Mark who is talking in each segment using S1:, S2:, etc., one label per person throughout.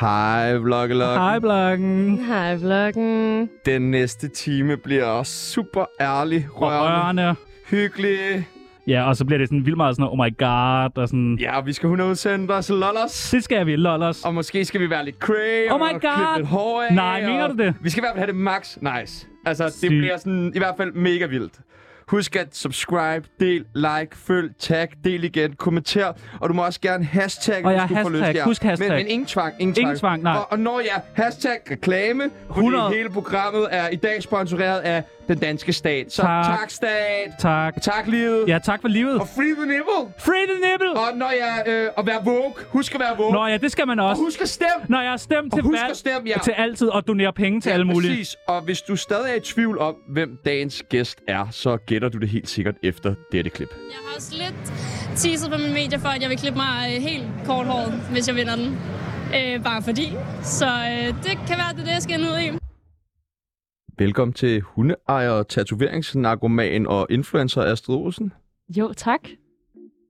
S1: Hej, vloggelog.
S2: Hej, bloggen.
S3: Hej, vloggen.
S1: Den næste time bliver også super ærlig,
S2: Og
S1: rørende,
S2: rørende.
S1: hyggelig.
S2: Ja, og så bliver det sådan vildt meget sådan, oh my god, og sådan...
S1: Ja, vi skal 100 sende os lollers.
S2: Det skal vi, lollers.
S1: Og måske skal vi være lidt cray
S2: Oh my
S1: og klippe
S2: God.
S1: lidt hår af.
S2: Nej, mener
S1: og
S2: du det?
S1: Vi skal i hvert fald have det max nice. Altså, det
S2: Sygt.
S1: bliver sådan i hvert fald mega vildt. Husk at subscribe, del, like, følg, tag, del igen, kommenter. Og du må også gerne hashtag,
S2: Og ja,
S1: hvis du får
S2: hashtag.
S1: lyst.
S2: Husk hashtag.
S1: Men, men ingen tvang, ingen tvang.
S2: Ingen tvang, nej.
S1: Og, og når jeg hashtag reklame, fordi
S2: 100.
S1: hele programmet er i dag sponsoreret af den danske stat. Så tak,
S2: Tak.
S1: tak stat.
S2: Tak.
S1: Tak livet.
S2: Ja, tak for livet.
S1: Og free the nibble.
S2: Free the nipple!
S1: Og når jeg øh, at være woke, husk at være woke.
S2: Nå ja, det skal man
S1: Og
S2: også.
S1: husk at stemme.
S2: Når jeg har stemt til
S1: husk
S2: valg,
S1: at stemme, ja.
S2: til altid, og donere penge til
S1: Ja,
S2: alle mulige.
S1: Præcis. Og hvis du stadig er i tvivl om, hvem dagens gæst er, så gætter du det helt sikkert efter dette klip.
S4: Jeg har også lidt teaset på mine medier for, at jeg vil klippe mig øh, helt kort håret, hvis jeg vinder den. Øh, bare fordi. Så øh, det kan være, at det er det, jeg skal ende ud i.
S1: Velkommen til hundeejer, tatoveringsnarkoman og influencer Astrid Olsen.
S3: Jo, tak.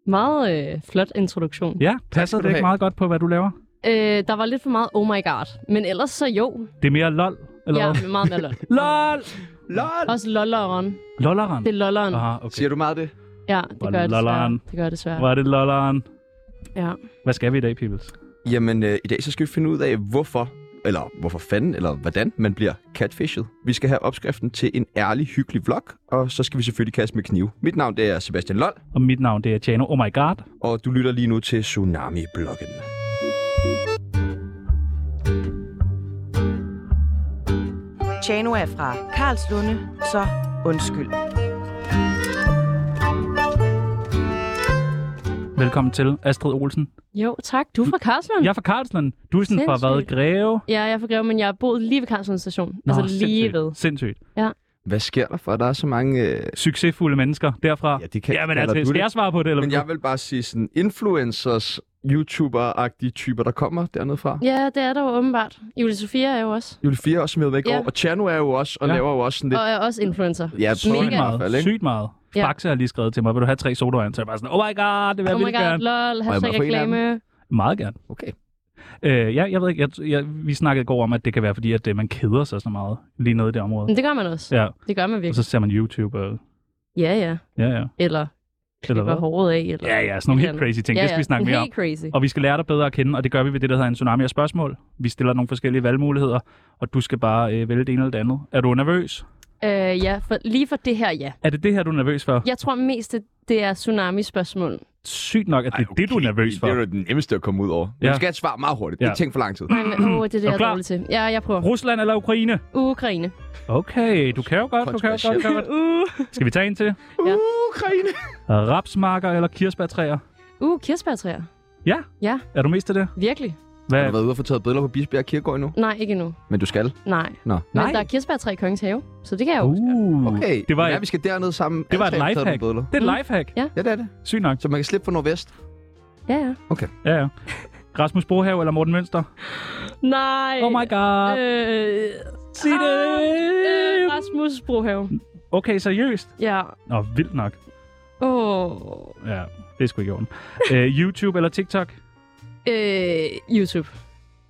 S3: Meget øh, flot introduktion.
S2: Ja, passer
S1: skal du
S2: det ikke
S1: have.
S2: meget godt på, hvad du laver?
S3: Øh, der var lidt for meget oh my god, men ellers så jo.
S2: Det er mere lol, eller
S3: Ja,
S2: hvad?
S3: men meget mere lol.
S2: LOL!
S1: LOL!
S3: Også lolleren.
S2: Lolleren?
S3: Det er lolleren.
S2: Aha, okay.
S1: Siger du meget det?
S3: Ja, det gør jeg desværre.
S2: Ah, Lolleren.
S3: Det gør jeg desværre.
S2: Var det lolleren?
S3: Ja.
S2: Hvad skal vi i dag, peoples?
S1: Jamen, øh, i dag så skal vi finde ud af, hvorfor eller hvorfor fanden, eller hvordan man bliver catfished. Vi skal have opskriften til en ærlig, hyggelig vlog, og så skal vi selvfølgelig kaste med knive. Mit navn det er Sebastian Lol,
S2: Og mit navn, det er Tjano. Oh my god.
S1: og du lytter lige nu til Tsunami-bloggen.
S5: Tjano er fra Karlslunde, så undskyld.
S2: Velkommen til, Astrid Olsen.
S3: Jo, tak. Du er fra Karlslund?
S2: Jeg er fra Karlslund. Du er sådan fra hvad?
S3: Sindssygt.
S2: Greve?
S3: Ja, jeg er fra Greve, men jeg har boet lige ved Karlslund station.
S2: Nå,
S3: altså lige
S2: sindssygt.
S3: ved.
S2: Sindssygt.
S1: Hvad sker der for, at der er så mange... Øh...
S2: Succesfulde mennesker derfra.
S1: Ja, det kan-
S2: Jamen
S1: kalder
S2: altså,
S1: du
S2: skal
S1: det?
S2: jeg svare på det, eller
S1: Men
S2: hvad?
S1: jeg vil bare sige sådan influencers, YouTuber-agtige typer, der kommer dernede fra. Ja.
S3: Ja, det er der jo åbenbart. Julie Sofia er jo også.
S1: Julie 4 er også med væk
S3: Ja.
S1: ja. over, og Chano er jo også, og ja.
S2: Ja.
S1: laver jo også sådan lidt...
S3: Og er også influencer.
S1: Ja, prøver
S3: Mega.
S1: han i hvert fald,
S2: meget.
S1: ikke?
S2: Sygt meget.
S3: Ja.
S2: Faxe har lige skrevet til mig, vil du have tre sodavand? Så jeg bare sådan, oh my god, det vil jeg
S3: Oh my
S2: vildt
S3: god,
S2: gerne.
S3: lol, hashtag
S1: jeg få en af dem?
S3: reklame.
S2: Meget gerne.
S1: Okay.
S2: Øh, ja, jeg ved ikke, jeg, jeg, vi snakkede i går om, at det kan være fordi, at øh, man keder sig så meget lige nede i det område.
S3: Men det gør man også.
S2: Ja,
S3: Det gør man
S2: og
S3: virkelig.
S2: så ser man YouTube og...
S3: Ja, ja.
S2: Ja, ja.
S3: Eller klipper
S2: hvad?
S3: håret af. Eller
S2: Ja, ja, sådan nogle helt
S3: et eller andet.
S2: crazy ting. Det skal vi snakke mere om.
S3: Helt crazy.
S2: Og vi skal lære dig bedre at kende, og det gør vi ved det, der hedder en tsunami af spørgsmål. Vi stiller nogle forskellige valgmuligheder, og du skal bare øh, vælge det ene eller det andet. Er du nervøs?
S3: Øh, ja, for, lige for det her, ja.
S2: Er det det her, du er nervøs for?
S3: Jeg tror mest, det, det er tsunami-spørgsmål.
S2: Sygt nok, at det er det, du er nervøs for.
S1: Det er jo den nemmeste at komme ud over. Ja.
S2: Ja.
S1: Du skal have et svar meget hurtigt. Ja.
S2: Ja.
S1: Ikke tænk for lang tid.
S3: Nej, men åh, det er det,
S2: Er
S3: jeg
S2: du
S3: er
S2: klar?
S3: dårlig til. Ja, jeg prøver.
S2: Rusland eller Ukraine?
S3: Ukraine.
S2: Okay, du kan jo godt, du kan jo godt, du kan jo godt.
S3: Uh,
S2: Skal vi tage en til?
S3: Ja.
S1: Ukraine!
S2: Rapsmarker eller kirsebærtræer?
S3: uh kirsebærtræer.
S2: Ja?
S3: Ja.
S2: Er du mest til det?
S3: Virkelig?
S1: Har
S2: Hvad?
S1: du været ude og få taget billeder på Bisbjerg Kirkegård endnu?
S3: Nej, ikke endnu.
S1: Men du skal.
S3: Nej.
S1: Nå.
S3: Men
S2: Nej.
S3: der er kirsebærtræ i Kongens Have, så det kan jeg jo. Uh.
S2: Uh,
S1: Okay,
S2: Det var
S1: ja,
S2: et-
S1: vi skal dernede sammen.
S2: det var et
S1: Alle tre har taget
S2: lifehack.
S1: nogle billeder.
S2: Det er et lifehack.
S1: Ja, det er det.
S2: Sygt nok.
S1: Så man kan slippe for Nordvest.
S3: Ja, ja.
S2: Ja, ja. Rasmus Brohave eller Morten Mønster?
S3: Nej.
S2: Oh my god.
S3: Øh,
S2: Sig det.
S3: øh, Rasmus Brohave.
S2: Okay, seriøst?
S3: Ja.
S2: Nå, vildt nok.
S3: Åh. Oh.
S2: Ja, det er sgu ikke i orden. Øh, YouTube eller TikTok?
S3: Øh, YouTube.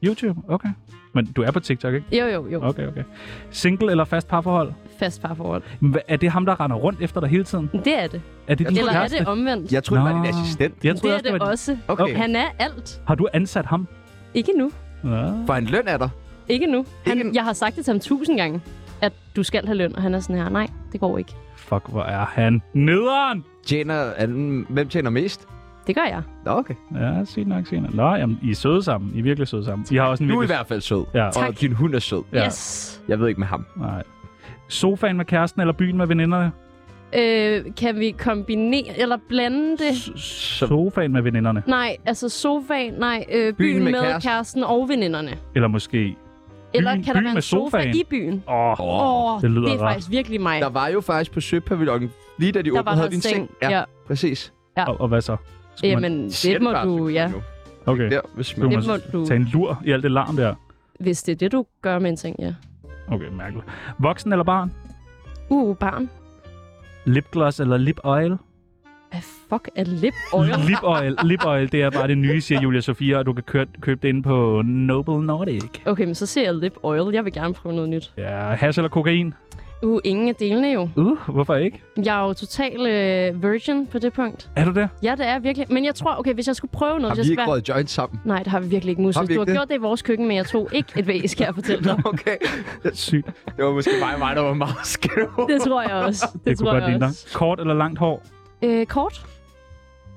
S2: YouTube, okay. Men du er på TikTok, ikke?
S3: Jo, jo, jo. Okay.
S2: Okay, okay. Single eller fast parforhold?
S3: Fast parforhold.
S2: Men hvad- Er det ham, der render rundt efter dig hele tiden?
S3: Det er det.
S2: Er det din
S3: Eller er
S2: kæreste?
S3: det omvendt?
S1: Jeg tror, det var
S2: Nå.
S1: din assistent.
S2: Jeg
S3: det
S2: troede
S3: er
S2: også, det
S3: det
S2: var...
S3: også.
S1: Okay.
S3: Han er alt.
S2: Har du ansat ham?
S3: Ikke nu.
S2: Ja.
S1: For en løn er der.
S3: Ikke nu. Han,
S1: Ikke nu.
S3: Jeg har sagt det til ham tusind gange, at du skal have løn, og han er sådan her, nej, det går ikke.
S2: Fuck, hvor er han nederen!
S1: Tjener, er den- hvem tjener mest?
S3: Det gør jeg.
S1: Nå, okay.
S2: Ja, sygt nok, sygt nok. Nå, jamen, I er søde sammen. I er virkelig søde sammen. I har også en
S1: Du er i
S2: virkelig...
S1: hvert fald sød.
S2: Ja.
S1: Og din hund er sød.
S2: Ja.
S3: Yes.
S1: Jeg ved ikke med ham.
S2: Nej. Sofaen med kæresten eller byen med veninderne?
S3: Øh, kan vi kombinere eller blande det?
S1: Så
S2: Sofaen med veninderne.
S3: Nej, altså sofaen, nej, øh, byen, byen med, med kæresten. kæresten og veninderne.
S2: Eller måske...
S3: Eller
S2: Byen-
S3: kan der
S2: byen
S3: være
S2: med
S3: en sofa
S2: sofaen.
S3: i byen?
S2: Åh, oh,
S3: Åh, oh,
S2: det lyder
S3: det er
S2: rart.
S3: faktisk virkelig mig.
S1: Der var jo faktisk på Søpavillonen, lige da de
S3: der
S1: åbnede,
S3: var
S1: havde
S3: der
S1: din seng.
S3: Ja. ja.
S1: præcis.
S2: og, og hvad så? Skulle man-
S3: Jamen,
S1: Siger
S3: det må
S1: bare,
S3: du,
S1: selvfølgelig
S3: ja.
S1: nu.
S2: Okay,
S1: Der, hvis man...
S2: skulle
S3: Det
S2: man
S3: må du,
S2: tage en lur i alt det larm der.
S3: hvis det er det, du gør med en ting, ja.
S2: Okay, mærkeligt. Voksen eller barn?
S3: Uh, barn.
S2: Lipgloss eller lip oil?
S3: Hvad fuck er lip oil?
S2: Lip oil, lip oil, det er bare det nye, siger Julia Sofia, og du kan kø- købe det inde på Noble Nordic.
S3: Okay, men så ser jeg lip oil. Jeg vil gerne prøve noget nyt.
S2: Ja, hash eller kokain?
S3: Uh, ingen af delene jo.
S2: Uh, hvorfor ikke?
S3: Jeg er jo total øh, virgin på det punkt.
S2: Er du det?
S3: Ja, det er jeg virkelig. Men jeg tror, okay, hvis jeg skulle prøve noget,
S1: Har
S3: hvis
S1: vi
S3: jeg
S1: ikke
S3: skulle være-
S1: røget joint sammen?
S3: Nej, det har vi virkelig ikke, Musse.
S1: Har vi
S3: Du har
S1: ikke det?
S3: gjort det i vores køkken, men jeg tog ikke et væs, kan jeg fortælle dig.
S1: Okay.
S2: Sygt. Det,
S1: Det var måske bare mig, der var meget skæv.
S3: Det tror jeg også. Det,
S2: det
S3: tror
S2: kunne godt
S3: jeg
S2: lide dig.
S3: også.
S2: Kort eller langt hår?
S3: Øh, kort?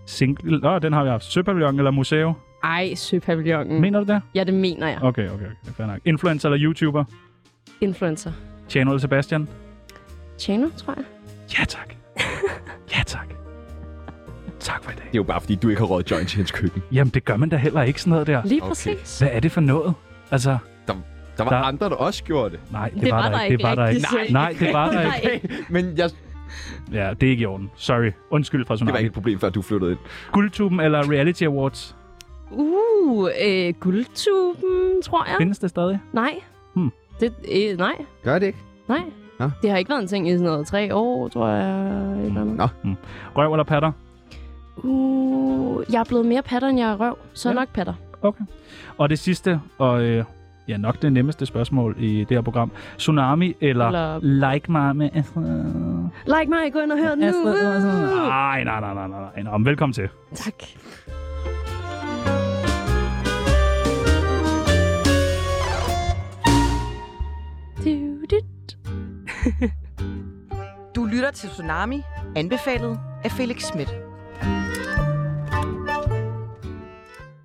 S2: Single? Nå, den har vi haft. Søpavillon eller museum?
S3: Ej, søpavillonen.
S2: Mm. Mener du det?
S3: Ja, det mener jeg.
S2: Okay, okay, okay. Fair nok. Influencer eller YouTuber?
S3: Influencer.
S2: Channel eller Sebastian?
S3: Chano, tror jeg.
S2: Ja, tak. ja, tak. Tak for i dag.
S1: Det er jo bare, fordi du ikke har røget joint til hendes køkken.
S2: Jamen, det gør man da heller ikke sådan noget der.
S3: Lige
S1: Okay.
S3: præcis.
S2: Hvad er det for noget? Altså,
S1: Der var
S2: Der-
S1: andre, der også gjorde det.
S2: nej, det,
S3: Det
S2: var,
S3: var der ikke
S2: Det var der ikke.
S3: rigtigt.
S2: Nej, det var der
S3: Nej.
S2: ikke.
S1: Men jeg,
S2: Ja, det er ikke i orden. Sorry. Undskyld fra
S1: det var
S2: tsunami.
S1: ikke et problem, før du flyttede ind.
S2: Guldtuben eller Reality Awards?
S3: Uh, øh, guldtuben, tror jeg.
S2: Findes det stadig?
S3: Nej.
S2: Hmm.
S3: Det, øh, nej,
S1: Gør det ikke?
S3: nej.
S1: Nå.
S3: Det har ikke været en ting i sådan noget tre år, tror jeg. Et eller andet.
S1: Nå.
S2: Røv eller patter?
S3: Uh, jeg er blevet mere patter, end jeg er røv. Så
S2: Ja.
S3: ja. nok patter.
S2: Okay. Og det sidste, og øh, ja, nok det nemmeste spørgsmål i det her program. Tsunami eller,
S3: Eller-
S2: Like mig med Astrid?
S3: Like mig, gå ind og hør den nu. Uh.
S2: Nej, nej, nej, nej, nej. Nå, men velkommen til.
S3: Tak. Du, du,
S5: Du lytter til Tsunami, anbefalet af Felix Schmidt.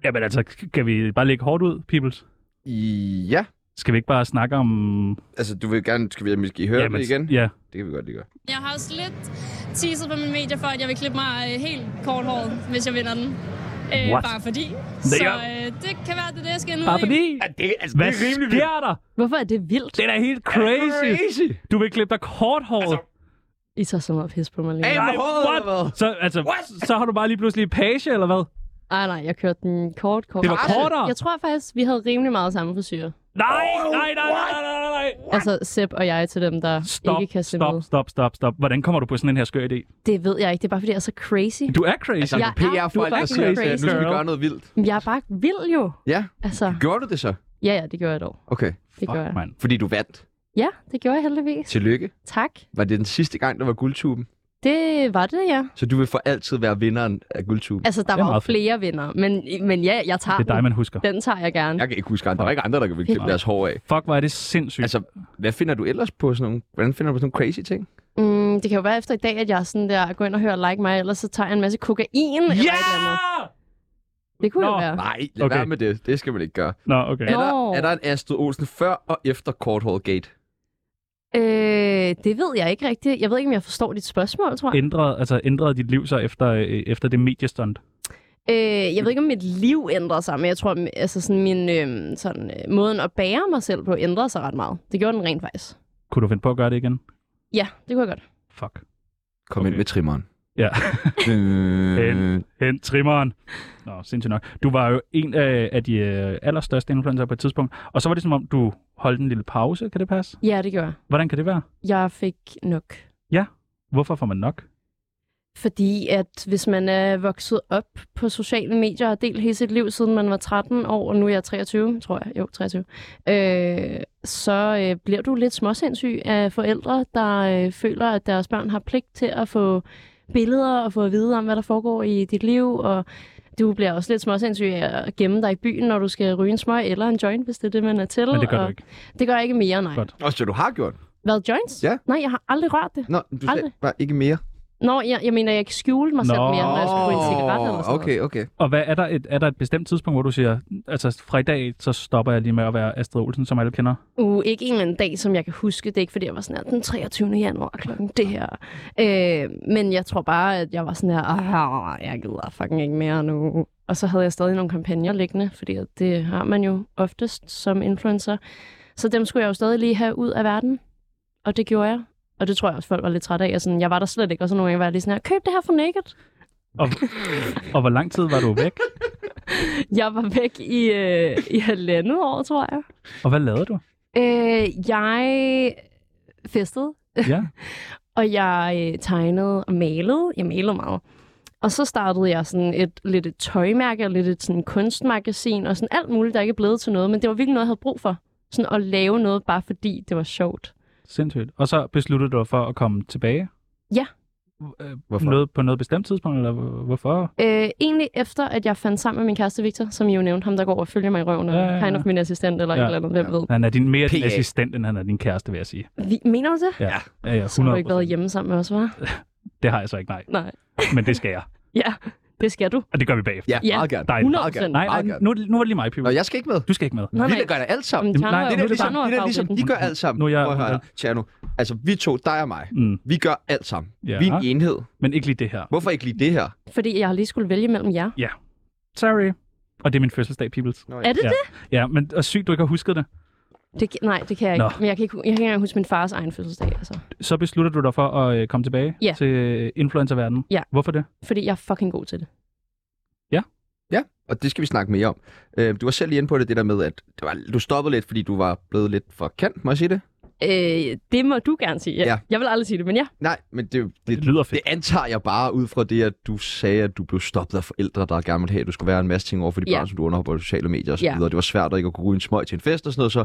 S2: Jamen altså, kan vi bare lægge hårdt ud, peoples?
S1: Ja.
S2: Skal vi ikke bare snakke om...
S1: Altså, du vil gerne... Skal vi måske høre
S2: Jamen,
S1: det igen?
S2: Ja,
S1: Det kan vi godt lige gøre.
S4: Jeg har også lidt teaset på mine medier for, at jeg vil klippe mig øh, helt kort hår, hvis jeg vinder den. Øh,
S2: What?
S4: bare fordi. Så
S2: er-
S4: øh, det kan være, det er det, jeg skal nu.
S2: bare fordi...
S1: det, altså,
S2: Hvad sker der?
S3: Hvorfor er det vildt?
S2: Det er da helt crazy.
S1: Crazy. Altså,
S2: Du vil klippe dig kort håret.
S3: I tager så meget pis på mig lige. nu.
S1: Hey,
S2: Nej,
S1: håret,
S2: what?
S1: eller hvad?
S2: Så, altså, så har du bare lige pludselig page, eller hvad?
S3: Ej, Ah, nej, jeg kørte den kort, kort.
S2: Det var kortere?
S3: Jeg tror faktisk, vi havde rimelig meget samme frisyr.
S2: Nej, nej, nej, nej, nej, nej, nej.
S3: Altså, Sepp og jeg til dem, der
S2: Stop,
S3: ikke kan se
S2: stop,
S3: med.
S2: stop, stop, stop. Hvordan kommer du på sådan en her skør idé?
S3: Det ved jeg ikke. Det er bare, fordi jeg er så crazy.
S2: Du er crazy.
S1: Altså,
S3: Ja,
S1: ja, PR-folk,
S3: du er
S1: der siger,
S3: fucking
S1: at nu skal vi
S2: crazy.
S1: gøre noget vildt.
S3: Men Jeg er bare vild jo.
S1: Ja.
S3: Altså,
S1: Gjorde du det så?
S3: ja, ja, det gjorde jeg dog.
S1: Okay.
S3: Det gjorde jeg.
S2: Man.
S1: Fordi du vandt.
S3: Ja, det gjorde jeg heldigvis.
S1: Tillykke.
S3: Tak.
S1: Var det den sidste gang, der var guldtuben?
S3: Det var det, ja.
S1: Så du vil for altid være vinderen af guldtuben?
S3: Altså, der
S2: Det er
S3: var jo
S2: meget fedt.
S3: flere vinder, men, men ja, jeg tager
S2: Det er dig,
S3: den.
S2: man husker.
S3: Den tager jeg gerne.
S1: Jeg kan ikke huske andre. Der er ikke andre, der kan klippe deres hår af.
S2: Fuck, hvor er det sindssygt.
S1: Altså, hvad finder du ellers på sådan nogle, hvordan finder du på sådan nogle crazy ting?
S3: Mm, det kan jo være efter i dag, at jeg er sådan der, går ind og hører like mig, ellers så tager jeg en masse kokain eller et eller andet. Det kunne
S2: Nå.
S3: jo være.
S1: Nej, lad
S2: Okay.
S1: okay. være med det. Det skal man ikke gøre.
S2: Nå, okay.
S1: Er,
S3: Nå.
S1: der, er der en Astrid Olsen før og efter Korthåret Gate?
S3: Øh, det ved jeg ikke rigtigt. Jeg ved ikke, om jeg forstår dit spørgsmål, tror jeg.
S2: Ændrede, altså, ændrede dit liv så efter, øh, efter det mediestunt?
S3: Øh, jeg ved ikke, om mit liv ændrer sig, men jeg tror, altså sådan min øh, sådan, øh, måden at bære mig selv på ændrede sig ret meget. Det gjorde den rent faktisk.
S2: Kunne du finde på at gøre det igen?
S3: Ja, det kunne jeg godt.
S2: Fuck.
S1: Kom
S2: Okay.
S1: okay. ind med trimmeren.
S2: Ja.
S1: øh,
S2: Hent trimmeren. Nå, sindssygt nok. Du var jo en af, af de øh, allerstørste influencer på et tidspunkt, og så var det som om, du holdt en lille pause. Kan det passe?
S3: Ja, det gjorde jeg.
S2: Hvordan kan det være?
S3: Jeg fik nok.
S2: Hvorfor får man nok?
S3: Fordi at hvis man er vokset op på sociale medier og har delt hele sit liv, siden man var 13 år, og nu er jeg 23, tror jeg, jo, 23, øh, så øh, bliver du lidt småsindssyg af forældre, der øh, føler, at deres børn har pligt til at få billeder og få at vide om, hvad der foregår i dit liv, og du bliver også lidt småsindssyg af at gemme dig i byen, når du skal ryge en smøg eller en joint, hvis det er det, man er til.
S2: Men det gør
S3: og
S2: du ikke.
S3: Det gør jeg ikke mere, nej.
S2: Godt.
S1: og så du har gjort.
S3: Hvad, joints?
S1: Ja.
S3: Nej, jeg har aldrig rørt det.
S1: Nå, du sagde
S3: Aldrig.
S1: bare ikke mere.
S3: Nå, jeg, jeg mener, jeg skjulte mig
S2: Nå.
S3: selv mere, når jeg skulle ryge en cigaret eller sådan noget.
S1: okay, okay.
S2: Og hvad er der, et, er der et bestemt tidspunkt, hvor du siger, altså fra i dag, så stopper jeg lige med at være Astrid Olsen, som alle kender?
S3: Uh, ikke en eller anden dag, som jeg kan huske. Det er ikke, fordi jeg var sådan her, den 23. januar klokken det her. Øh, men jeg tror bare, at jeg var sådan her, "Ah, jeg gider fucking ikke mere nu. Og så havde jeg stadig nogle kampagner liggende, fordi at det har man jo oftest som influencer. Så dem skulle jeg jo stadig lige have ud af verden. Og det gjorde jeg. Og det tror jeg også, folk var lidt trætte af. Jeg, sådan, jeg var der slet ikke, og så nogle gange var jeg lige sådan her, køb det her for naked.
S2: Og, og hvor lang tid var du væk?
S3: Jeg var væk i, øh, i halvandet år, tror jeg.
S2: Og hvad lavede du?
S3: Øh, jeg festede
S2: Ja.
S3: Og jeg øh, tegnede og malede. Jeg malede meget. Og så startede jeg sådan et lidt et tøjmærke og lidt et sådan kunstmagasin og sådan alt muligt, der ikke er blevet til noget. Men det var virkelig noget, jeg havde brug for. Sådan at lave noget, bare fordi det var sjovt.
S2: Sindssygt. Og så besluttede du dig for at komme tilbage?
S3: Ja.
S2: Øh,
S1: Hvorfor?
S2: Noget, på noget bestemt tidspunkt, eller hvor- hvorfor?
S3: Øh, egentlig efter, at jeg fandt sammen med min kæreste Victor, som I jo nævnte, ham der går og følger mig i røven, og
S2: Ja, ja, ja.
S3: kind of min assistent eller
S2: Ja.
S3: ja. et eller andet, hvem
S1: Ja.
S3: ved.
S2: Han er din, mere din
S1: PA.
S2: assistent, end han er din kæreste, vil jeg sige.
S3: Vi, mener du det?
S2: Ja, ja, 100%.
S3: Så har du ikke været hjemme sammen med os, hva'?
S2: Det har jeg så ikke, nej.
S3: Nej.
S2: Men det skal jeg.
S3: Ja, det skal du.
S2: Og det gør vi bagefter.
S1: Ja,
S3: Ja.
S1: meget gerne.
S2: Dejligt.
S3: 100
S1: Meget gerne.
S2: Nej, nej,
S1: Meget gerne.
S2: nu, nu var det lige mig,
S1: Nå,
S2: Pibel.
S1: jeg skal ikke med.
S2: Du skal ikke med.
S3: Nej,
S1: vi
S3: nej.
S1: der gør det alt sammen.
S3: Jamen, Tjerno
S2: nej,
S3: er
S1: det
S3: jo-
S1: er ligesom,
S3: Tjerno er
S1: det er ligesom
S3: favoritten.
S1: de gør alt sammen.
S2: Nu er jeg-
S1: Prøv at høre her, Tjerno. Altså, vi to, dig og mig,
S2: Mm,
S1: vi gør alt sammen.
S2: Ja.
S1: Vi er en enhed.
S2: men ikke lige det her.
S1: Hvorfor ikke lige det her?
S3: Fordi jeg har lige skulle vælge mellem jer.
S2: Sorry. Og det er min fødselsdag, Pibels.
S1: Nå,
S3: Er det
S2: Ja.
S3: det?
S2: Ja, men og sygt, du ikke har husket det.
S3: det? kan- Nej, det kan jeg ikke.
S2: Nå.
S3: Men jeg kan ikke, jeg kan ikke engang huske min fars egen fødselsdag. Altså.
S2: Så beslutter du dig for at øh, komme tilbage
S3: Ja.
S2: til øh, influencerverdenen.
S3: Ja.
S2: Hvorfor det?
S3: Fordi jeg er fucking god til det.
S1: Og det skal vi snakke mere om. Øh, du var selv lige inde på det, det der med, at det var, du stoppede lidt, fordi du var blevet lidt for kendt, må jeg sige det?
S3: Øh, det må du gerne sige. Ja.
S1: Ja.
S3: ja. Jeg vil aldrig sige det, men ja.
S1: Nej, men det,
S2: Det
S1: det,
S2: lyder fedt.
S1: det antager jeg bare ud fra det, at du sagde, at du blev stoppet af forældre, der gerne ville have, at du skulle være en masse ting over for de
S3: Ja.
S1: børn, som du underholder på sociale medier osv.
S3: Ja.
S1: videre. Det var svært at ikke at kunne ryge en smøg til en fest og sådan noget, så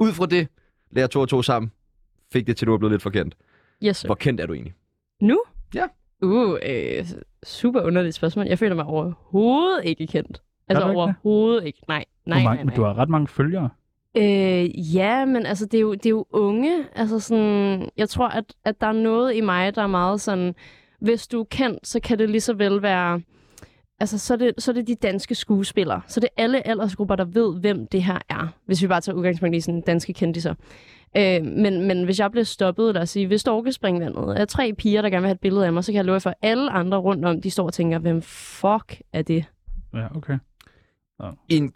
S1: ud fra det, lærer to og to sammen, fik det til, at du var blevet lidt for kendt.
S3: Yes, sir.
S1: Hvor kendt er du egentlig?
S3: Nu?
S1: Ja.
S3: Uh, øh, super underligt spørgsmål. Jeg føler mig overhovedet ikke kendt. Altså
S2: du ikke det?
S3: overhovedet ikke. Nej, nej,
S2: Hvor
S3: nej,
S2: mange,
S3: nej.
S2: Du har ret mange følgere.
S3: Øh, ja, men altså, det er, jo, det er jo unge. Altså sådan, jeg tror, at, at der er noget i mig, der er meget sådan, hvis du er kendt, så kan det lige så vel være, altså så er det, så er det de danske skuespillere. Så det er alle aldersgrupper, der ved, hvem det her er. Hvis vi bare tager udgangspunkt i sådan danske kendtiser. Øh, men, men hvis jeg bliver stoppet, lad os sige, ved Storkespringvandet, er tre piger, der gerne vil have et billede af mig, så kan jeg love jer for, at alle andre rundt om, de står og tænker, hvem fuck er det?
S2: Ja, okay.
S1: En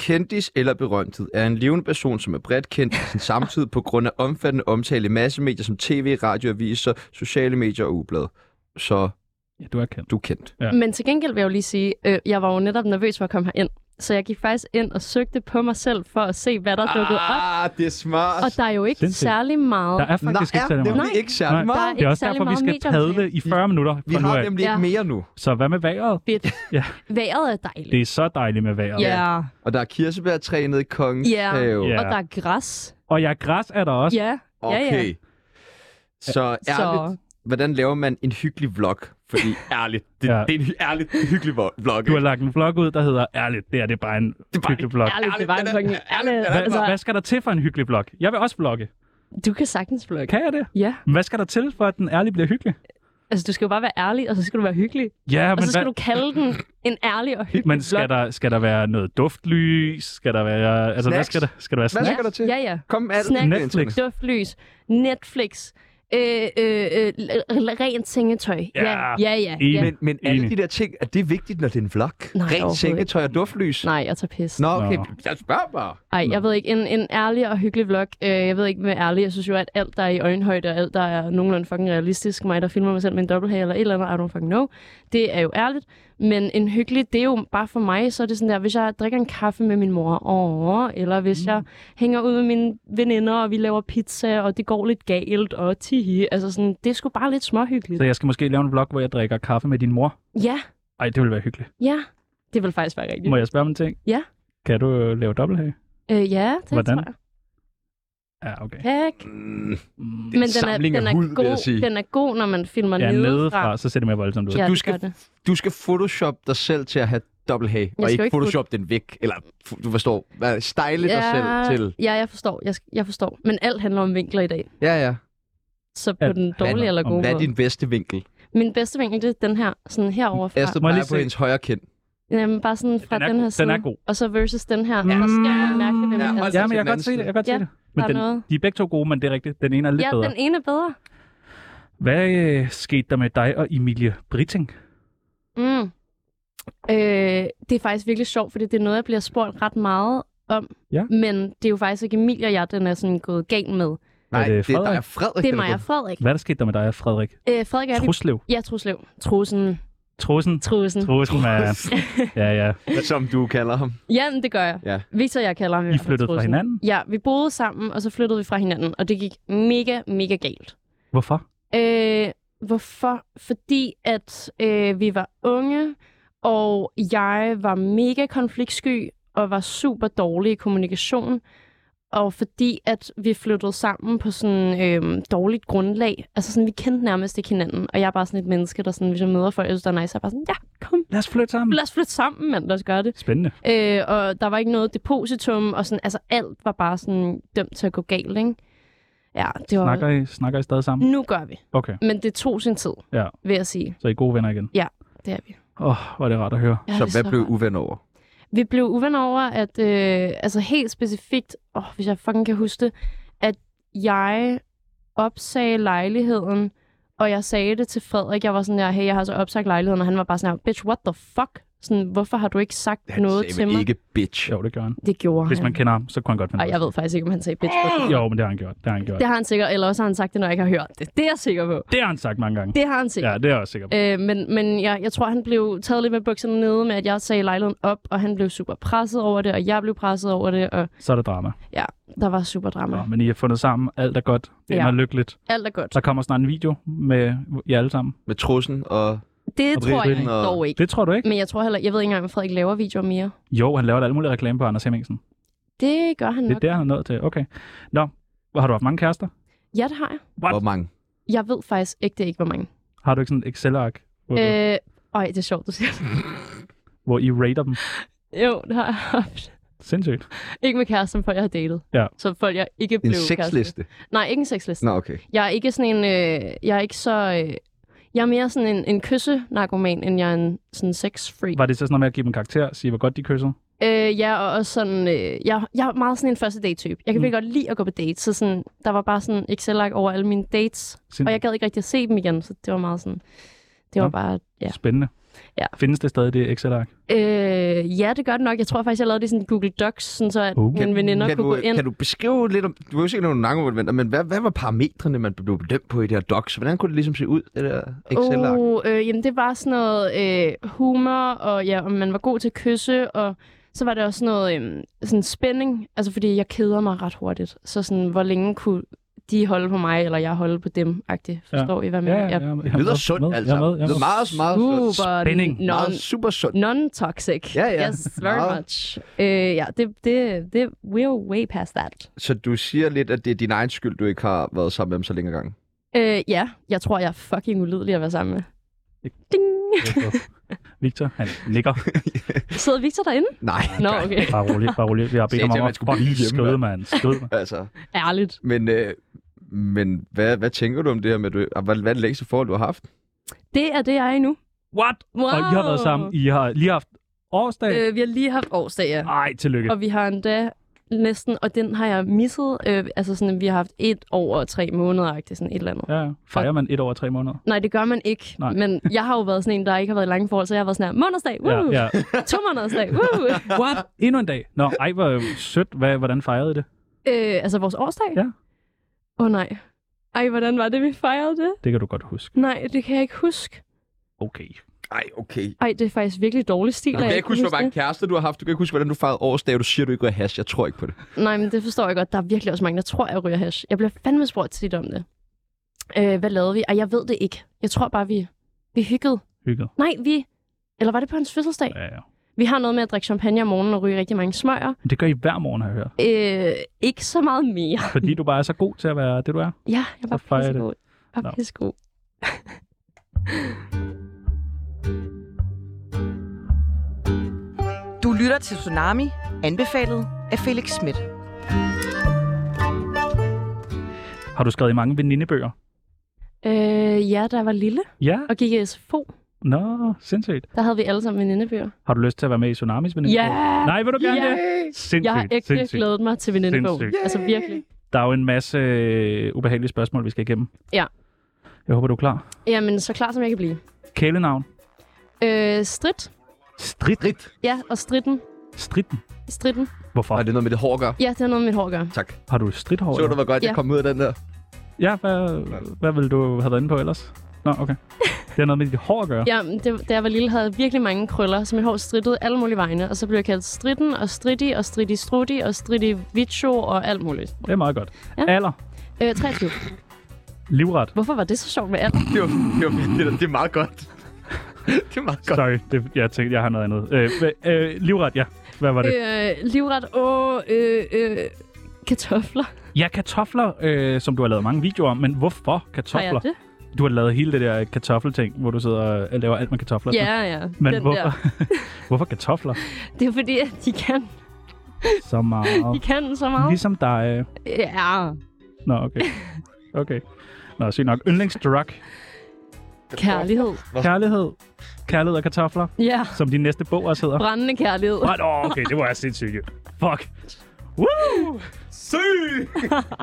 S1: kendis eller berømthed er en levende person, som er bredt kendt i sin samtid på grund af omfattende omtale i massemedier som tv, radio, aviser, sociale medier og ublad. Så
S2: Ja, du er kendt.
S1: du er kendt.
S2: Ja.
S3: Men til gengæld vil jeg jo lige sige, øh, jeg var jo netop nervøs for at komme herind. Så jeg gik faktisk ind og søgte på mig selv for at se, hvad
S1: Ah.
S3: der dukkede op.
S1: det er smart.
S3: Og der er jo ikke
S2: Sindssygt.
S3: særlig meget.
S2: Der er faktisk
S1: Nej,
S2: ikke særlig
S1: det er
S2: meget.
S3: meget.
S1: nemlig ikke særlig
S2: Nej.
S1: meget.
S3: Der er
S2: Det er
S3: ikke
S2: også
S3: særlig
S2: derfor, vi
S3: meget
S2: skal
S3: medieomtale.
S2: padle i 40 minutter
S1: Vi
S2: fra nu
S1: har
S2: af.
S1: nemlig ikke
S3: Ja.
S1: mere nu.
S2: Så hvad med vejret?
S3: Vejret er dejligt.
S2: Det er så dejligt med vejret.
S3: Ja.
S1: Og der er kirsebærtræ nede i kongens
S3: Ja.
S1: have.
S2: Ja.
S3: Og der er græs.
S2: Og jeg græs er der også.
S3: Ja. Ja, ja.
S1: Okay. Så ærligt,
S3: Så
S1: hvordan laver man en hyggelig vlog? Fordi ærligt, det,
S2: Ja.
S1: ja. det er en hy- ærligt en hyggelig vo- vlog.
S2: Du
S1: ikke?
S2: har lagt en vlog ud, der hedder Ærligt, det er det er bare en
S1: bare
S2: hyggelig vlog.
S3: ærligt, det var en
S1: den er-
S3: fucking
S1: ærligt, den
S3: ærligt.
S1: er
S2: Hvad,
S3: Altså,
S2: hvad skal der til for en hyggelig vlog? Jeg vil også vlogge.
S3: du kan sagtens vlogge.
S2: Kan jeg det?
S3: Ja.
S2: Hvad skal der til, for at den ærlig bliver hyggelig?
S3: Altså, du skal jo bare være ærlig, og så skal du være hyggelig.
S2: Ja,
S3: Og
S2: men,
S3: så skal
S2: hvad,
S3: du kalde den en ærlig og hyggelig
S2: men skal,
S3: vlog.
S2: der, skal der være noget duftlys? Skal der være... Altså, hvad
S1: Snacks?
S2: skal der, skal der være
S1: Hvad
S2: snack?
S1: skal der til?
S3: Ja, ja.
S1: Kom med alt.
S3: Snack.
S2: Netflix.
S3: Duftlys, Netflix, øh, øh, øh, l- rent sengetøj.
S2: Ja.
S3: Ja, ja, ja.
S2: Enig.
S3: ja.
S1: Men, men
S2: Enig.
S1: alle de der ting, er det vigtigt, når det er en vlog? Rent
S3: overhovedet
S1: sengetøj og duftlys?
S3: Nej, jeg tager pis.
S1: Nå, okay.
S2: Nå.
S1: Jeg spørger bare.
S3: Ej, jeg ved ikke. En, en ærlig og hyggelig vlog. Øh, jeg ved ikke med ærlig. Jeg synes jo, at alt, der er i øjenhøjde, og alt, der er nogenlunde fucking realistisk, mig, der filmer mig selv med en dobbelthage eller et eller andet, I don't fucking know, det er jo ærligt. Men en hyggelig, det er jo bare for mig, så er det sådan der, hvis jeg drikker en kaffe med min mor, åh, eller hvis mm. jeg hænger ud med mine veninder, og vi laver pizza, og det går lidt galt, og tihi. Altså sådan, det er sgu bare lidt småhyggeligt.
S2: Så jeg skal måske lave en vlog, hvor jeg drikker kaffe med din mor.
S3: Ja,
S2: Ej, det ville være hyggeligt.
S3: ja. Det vil faktisk være rigtigt.
S2: Må jeg spørge om en ting?
S3: Ja.
S2: Kan du øh, lave dobbelthage?
S3: Øh, ja, det
S2: Hvordan?
S3: tror jeg.
S2: Ja, okay.
S3: Heck.
S1: Mm,
S2: Mm.
S1: Det er en samling af
S3: den er
S1: hud, vil
S3: god,
S1: jeg sige.
S3: Den er god, når man filmer
S2: Ja, nedefra,
S3: nedefra.
S2: så ser det mere voldsomt ud.
S3: Ja,
S1: du
S3: det
S1: skal-
S3: gør det.
S1: du skal photoshop dig selv til at have dobbelthage, og
S3: skal
S1: ikke
S3: ikke
S1: photoshop den væk. Eller, f- du forstår, hvad- style dig selv til.
S3: ja, jeg forstår. Jeg, jeg forstår. Men alt handler om vinkler i dag.
S1: Ja, ja.
S3: Så på
S2: Alt
S3: den
S2: handler
S3: dårlige eller
S2: om-
S3: gode
S1: Hvad er
S3: måde.
S1: din bedste vinkel?
S3: Min bedste vinkel, det er den her. Sådan herovre fra.
S1: Astrid
S2: Må jeg lige
S1: peger på
S2: se?
S1: hendes højre kind.
S3: Jamen, bare sådan fra
S2: Den
S3: den,
S2: er
S3: her
S2: god.
S3: side.
S2: Den er god.
S3: Og så versus den her.
S2: Ja.
S3: Ja. Og så skal jeg mærke, hvem
S1: Ja,
S3: ja,
S1: hold
S3: er.
S1: da.
S3: Ja,
S2: Ja, men
S1: den
S2: jeg kan
S1: anden
S2: godt se det.
S1: side.
S2: Jeg kan godt
S3: Ja,
S2: se det. Men
S3: der er
S2: den,
S3: noget.
S2: de er begge to gode, men det er rigtigt. Den ene er lidt bedre.
S3: den ene er bedre.
S2: Hvad øh, skete der med dig og Emilie Britting?
S3: Mm. Øh, det er faktisk virkelig sjovt, fordi det er noget, jeg bliver spurgt ret meget om.
S2: Ja.
S3: Men det er jo faktisk ikke Emilie og jeg, den er sådan gået galt med.
S1: Nej,
S2: det
S1: det er dig
S2: Frederik?
S1: og Frederik.
S3: Det er
S1: der
S3: mig og
S1: på.
S3: Frederik.
S2: Hvad er der skete der med dig og Frederik?
S3: Øh, Frederik er det.
S2: Truslev.
S3: Ja, Truslev. Trusen.
S2: Trussen.
S3: Trusen.
S2: Trussen, man. Ja, ja.
S1: Som du kalder ham.
S3: Jamen, det gør jeg.
S1: Ja.
S3: Victor og jeg kalder ham i
S2: I
S3: hvert fald
S2: flyttede fra
S3: Trussen.
S2: hinanden?
S3: Ja, vi boede sammen, og så flyttede vi fra hinanden, og det gik mega, mega galt.
S2: Hvorfor?
S3: Øh, Hvorfor? Fordi at øh, vi var unge, og jeg var mega konfliktsky og var super dårlig i kommunikation. Og fordi at vi flyttede sammen på sådan øh, dårligt grundlag. Altså sådan, vi kendte nærmest ikke hinanden. Og jeg er bare sådan et menneske, der sådan, hvis jeg møder folk, jeg synes, der er nice, så er jeg bare sådan, ja, kom,
S2: Lad os flytte sammen.
S3: lad os flytte sammen, mand, lad os gøre det.
S2: Spændende.
S3: Øh, og der var ikke noget depositum, og sådan, altså alt var bare sådan dømt til at gå galt, ikke? Ja, det var...
S2: Snakker I, snakker I stadig sammen?
S3: Nu gør vi.
S2: Okay,
S3: Men det tog sin tid,
S2: Ja.
S3: vil jeg sige.
S2: så I er gode venner igen.
S3: Det er vi.
S2: Åh, oh, hvor er det rart at høre.
S3: Ja, det er
S1: Så hvad blev
S3: rart.
S1: uven over?
S3: Vi blev uvenner over, at øh, altså helt specifikt, åh, hvis jeg fucking kan huske det, at jeg opsagde lejligheden, og jeg sagde det til Frederik. Jeg var sådan der, hey, jeg har så opsagt lejligheden, og han var bare sådan der, bitch, what the fuck? Sådan, hvorfor har du ikke sagt
S1: Han
S3: noget
S1: sagde
S3: til
S1: vel
S3: mig?
S1: ikke bitch.
S2: Jo, det gør han.
S3: Det gjorde
S2: Hvis
S3: han.
S2: man kender ham, så kunne han godt finde
S3: Og
S2: på
S3: jeg
S2: det.
S3: ved faktisk ikke, om han sagde bitch. Oh!
S2: Jo, men det har han gjort. Det har han gjort.
S3: Det har han sikkert, eller også har han sagt det, når jeg ikke har hørt det. Det er jeg sikker på.
S2: Det har han sagt mange gange.
S3: Det har han sikkert.
S2: Ja, det er jeg også sikker på.
S3: Ja. Øh, men men jeg, jeg tror, han blev taget lidt med bukserne nede med, at jeg sagde lejligheden op, og han blev super presset over det, og jeg blev presset over det, og
S2: Så er det drama.
S3: der var super drama.
S2: Nå,
S3: Ja.
S2: men I har fundet sammen. Alt er godt. Det
S3: Ja.
S2: er lykkeligt.
S3: Alt er godt.
S2: Der kommer snart en video med jer alle sammen.
S1: Med trussen og...
S3: Det
S1: Og
S3: tror jeg
S1: Brian og-
S3: dog ikke.
S2: Det tror du ikke?
S3: Men jeg tror heller, jeg ved ikke engang, om Frederik laver videoer mere.
S2: Jo, han laver da alle mulige reklame på Anders Hemmingsen.
S3: Det gør han
S2: Det
S3: nok.
S2: er der, han er nået til. Okay. Nå, har du haft mange kærester?
S3: Ja, det har jeg.
S2: What?
S1: Hvor mange?
S3: Jeg ved faktisk ikke, det er ikke, hvor mange.
S2: Har du ikke sådan et Excel-ark, hvor, øh...
S3: Okay. Øh, øj, det er sjovt, du siger det.
S2: hvor I rater dem?
S3: Jo, det har jeg haft.
S2: Sindssygt.
S3: Ikke med kæresten, folk jeg har datet.
S2: Ja.
S3: Så folk jeg ikke blev
S1: En
S3: kæreste med.
S1: sexliste?
S3: Nej, ikke en sexliste.
S1: Nå, okay.
S3: Jeg er ikke sådan en... Øh, jeg er ikke så... Øh, jeg er mere sådan en, en kysse-narkoman, end jeg er en sådan sex-freak.
S2: Var det så sådan noget med at give dem karakter, sige, hvor godt de kyssede?
S3: Øh, ja, og også sådan... Øh, jeg, jeg er meget sådan en første date-type. Jeg kan
S2: Mm.
S3: virkelig godt lide at gå på dates, så sådan, der var bare sådan excel ark over alle mine dates.
S2: Sindssygt.
S3: Og jeg gad ikke rigtig at se dem igen, så det var meget sådan... Det var
S2: Mm. Nå.
S3: bare... Ja.
S2: Spændende.
S3: Ja. Mm,
S2: Findes det stadig det Excel-ark?
S3: Øh, ja, det gør det nok. Jeg tror faktisk, jeg lavede det i sådan Google Docs, sådan så at
S2: Uh.
S3: uh. mine veninder
S1: Kan
S3: kunne gå
S1: du, øh,
S3: ind.
S1: kan du beskrive lidt om... Du har jo set nogle lange men hvad, hvad var parametrene, man blev bedømt på i det her docs? Hvordan kunne det ligesom se ud, det der Excel-ark?
S3: Oh, øh, jamen, det var sådan noget øh, humor, og ja, om man var god til at kysse, og så var det også sådan noget øh, sådan spænding, altså fordi jeg keder mig ret hurtigt. Så sådan, hvor længe kunne de holde på mig, eller jeg holde på dem, agtigt. Forstår I, hvad jeg mener? Uh,
S2: jeg,
S1: Det lyder sundt, altså.
S2: Jeg er med, jeg
S1: Det
S2: er
S1: lyder meget, meget sundt.
S3: Super
S2: Spænding.
S1: Meget
S3: non-
S1: super sundt.
S3: non-toxic.
S1: Ja, ja.
S3: Yes, very
S1: Meget.
S3: much. Øh, ja, det, det, det, we're way past that.
S1: Så du siger lidt, at det er din egen skyld, du ikke har været sammen med dem så længe gang.
S3: Øh, ja, jeg tror, jeg er fucking ulydelig at være sammen med. Ding!
S2: med. Victor, han nikker.
S3: Sidder Victor derinde?
S1: Nej,
S3: Nå, okay.
S2: Bare rolig, bare rolig. Vi har bedt ham
S1: Sagde til,
S2: om
S1: at man
S2: at
S1: skulle blive hjemme,
S2: fucking skyde, mand. Skyde mig.
S1: altså.
S3: Ærligt.
S1: Men, øh, men hvad, hvad tænker du om det her med, at du, og hvad, hvad er det længste forhold, du har haft?
S3: Det er det, jeg er i nu.
S2: What?
S3: Wow.
S2: Og I har været sammen. I har lige haft årsdag.
S3: Øh, vi har lige haft årsdag, ja.
S2: Ej, tillykke.
S3: Øh. Og vi har endda næsten, og den har jeg misset. Øh, altså sådan, vi har haft et år og tre måneder, agtigt, sådan et eller andet.
S2: Ja, ja. Fejrer man et over tre måneder?
S3: Nej, det gør man ikke.
S2: Nej.
S3: Men jeg har jo været sådan en, der ikke har været i lange forhold, så jeg har været sådan her, månedsdag, woo!
S2: Ja,
S3: Ja,
S2: ja.
S3: ja. to månedersdag, woo!
S2: What? Endnu en dag? Nå, ej, hvor sødt. Hvad, hvordan fejrede I det?
S3: øh, altså vores årsdag?
S2: Ja.
S3: Åh oh, nej. Ej, hvordan var det, vi fejrede det?
S2: Det kan du godt huske.
S3: Nej, det kan jeg ikke huske.
S2: Okay.
S1: Nej, okay.
S3: Ej, det er faktisk virkelig dårlig stil.
S1: Du
S3: at
S1: kan
S3: jeg
S1: ikke huske, hvor
S3: kan
S1: mange kærester du har haft. Du kan ikke huske, hvordan du fejrede årsdag. Du siger, du ikke rører hash. Jeg tror ikke på det.
S3: det. Nej, men det forstår jeg godt. Der er virkelig også mange, der tror, jeg ryger hash. Jeg bliver fandme spurgt tit om det. Øh, hvad lavede vi? Ej, jeg ved det ikke. Jeg tror bare, vi, vi hyggede.
S2: Hygget.
S3: Nej, vi... Eller var det på hans fødselsdag?
S2: Ja, ja.
S3: Vi har noget med at drikke champagne om morgenen og ryge rigtig mange smøger.
S2: Men Det gør I hver morgen, har jeg hørt.
S3: Øh, ikke så meget mere.
S2: Fordi du bare er så god til at være det, du er.
S3: Ja, jeg var
S2: Så fejrer I det.
S3: pissegod. Jeg var
S2: Nå.
S3: pissegod.
S5: Du lytter til Tsunami, anbefalet af Felix Schmidt.
S2: Har du skrevet i mange venindebøger?
S3: Øh, ja, der var lille
S2: Ja.
S3: og gik i SFO.
S2: Nå, sindssygt.
S3: Der havde vi alle sammen venindebøger.
S2: Har du lyst til at være med i Tsunamis venindebog?
S3: Ja!
S2: Nej, vil du gerne
S3: Ja!
S2: det? Sindssygt.
S3: Jeg har ægte
S2: sindssygt.
S3: glædet mig til venindebogen.
S2: Sindssygt.
S3: Altså virkelig.
S2: Der er jo en masse øh, ubehagelige spørgsmål, vi skal igennem.
S3: Ja.
S2: Jeg håber, du er klar.
S3: Jamen, så klar som jeg kan blive.
S2: Kælenavn.
S3: Øh, strid.
S2: Strid.
S1: Rit.
S3: Ja, og stritten.
S2: Stritten.
S3: Stritten.
S2: Hvorfor?
S1: Og det er noget med det hår at gøre.
S3: Ja, det har noget med mit hår at gøre.
S1: Tak.
S2: Har du stridthår?
S1: Så du,
S2: eller?
S1: hvor godt jeg
S3: Ja.
S1: kom ud af den der?
S2: Ja, hvad, hvad ville du have været inde på ellers? Nå, okay. Det har noget med dit hår at gøre.
S3: Ja, men det, da jeg var lille, havde jeg virkelig mange krøller, så mit hår strittede alle mulige vegne. Og så blev jeg kaldt stritten og strittig og strittig strutti og strittig vicho og alt muligt.
S2: Det er meget godt.
S3: Ja.
S2: Alder.
S3: Øh, 23.
S2: Livret.
S3: Hvorfor var det så sjovt med alder?
S1: Det, var, det, var, det, er- det er meget godt. det er meget godt.
S2: Sorry, det, jeg tænkte, jeg har noget andet. Øh, hva- øh, livret, ja. Hvad var det?
S3: Øh, livret og øh, øh, kartofler.
S2: Ja, kartofler, øh, som du har lavet mange videoer om, men hvorfor
S3: Har jeg
S2: kartofler?
S3: det?
S2: Du har lavet hele det der kartoffelting, hvor du sidder og laver alt med kartofler.
S3: Ja, ja.
S2: Men
S3: den
S2: hvorfor,
S3: Der.
S2: hvorfor kartofler
S3: Det er fordi, at de kan,
S2: så meget?
S3: de kan så meget.
S2: Ligesom dig.
S3: Ja.
S2: Nå, okay. Okay. Nå, sygt nok. Yndlingsdrug.
S3: Kærlighed.
S2: Kærlighed. Kærlighed og kartofler,
S3: Ja.
S2: som din næste bog også hedder.
S3: Brændende kærlighed.
S2: Right, oh, okay, det var jeg sindssygt. jo. Fuck. Woo!
S1: Syg!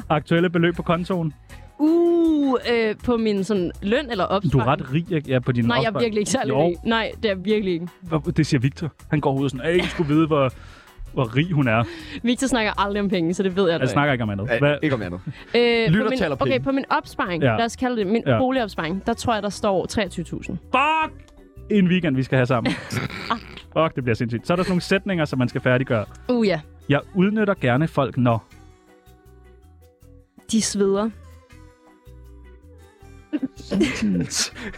S2: Aktuelle beløb på kontoen.
S3: Uh, øh, på min sådan, løn eller opsparing.
S2: Du er ret rig ikke? ja, på din
S3: Nej, jeg er
S2: opsparing.
S3: virkelig ikke særlig
S2: Jo.
S3: rig. Nej, det er jeg virkelig ikke.
S2: Hvor- Det siger Victor. Han går ud og sådan, at I skulle vide, hvor, hvor rig hun er. Altså,
S3: Victor snakker aldrig om penge, så det ved jeg da.
S2: Jeg snakker ikke om andet.
S1: Æ,
S2: Hvad?
S1: ikke om andet.
S3: Øh,
S1: Lytter
S3: på min,
S1: taler penge.
S3: Okay, på min opsparing,
S2: Ja.
S3: ja. lad os kalde det min
S2: Ja.
S3: ja. boligopsparing, der tror jeg, der står 23.000.
S2: Fuck! En weekend, vi skal have sammen. Fuck, det bliver sindssygt. Så er der sådan nogle sætninger, som man skal færdiggøre.
S3: Uh ja,
S2: Jeg udnytter gerne folk, når...
S3: de sveder.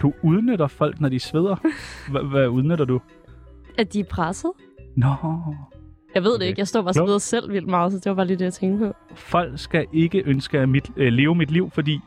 S2: Du udnytter folk, når de sveder. Hva- Hvad udnytter du?
S3: At de er presset?
S2: Nå,
S3: Jeg ved
S2: Okay.
S3: det okay. ikke, jeg står bare og
S2: Klogt.
S3: sveder selv vildt meget, så det var bare lige det, jeg tænkte på.
S2: folk skal ikke ønske at mit, øh, leve mit liv, fordi...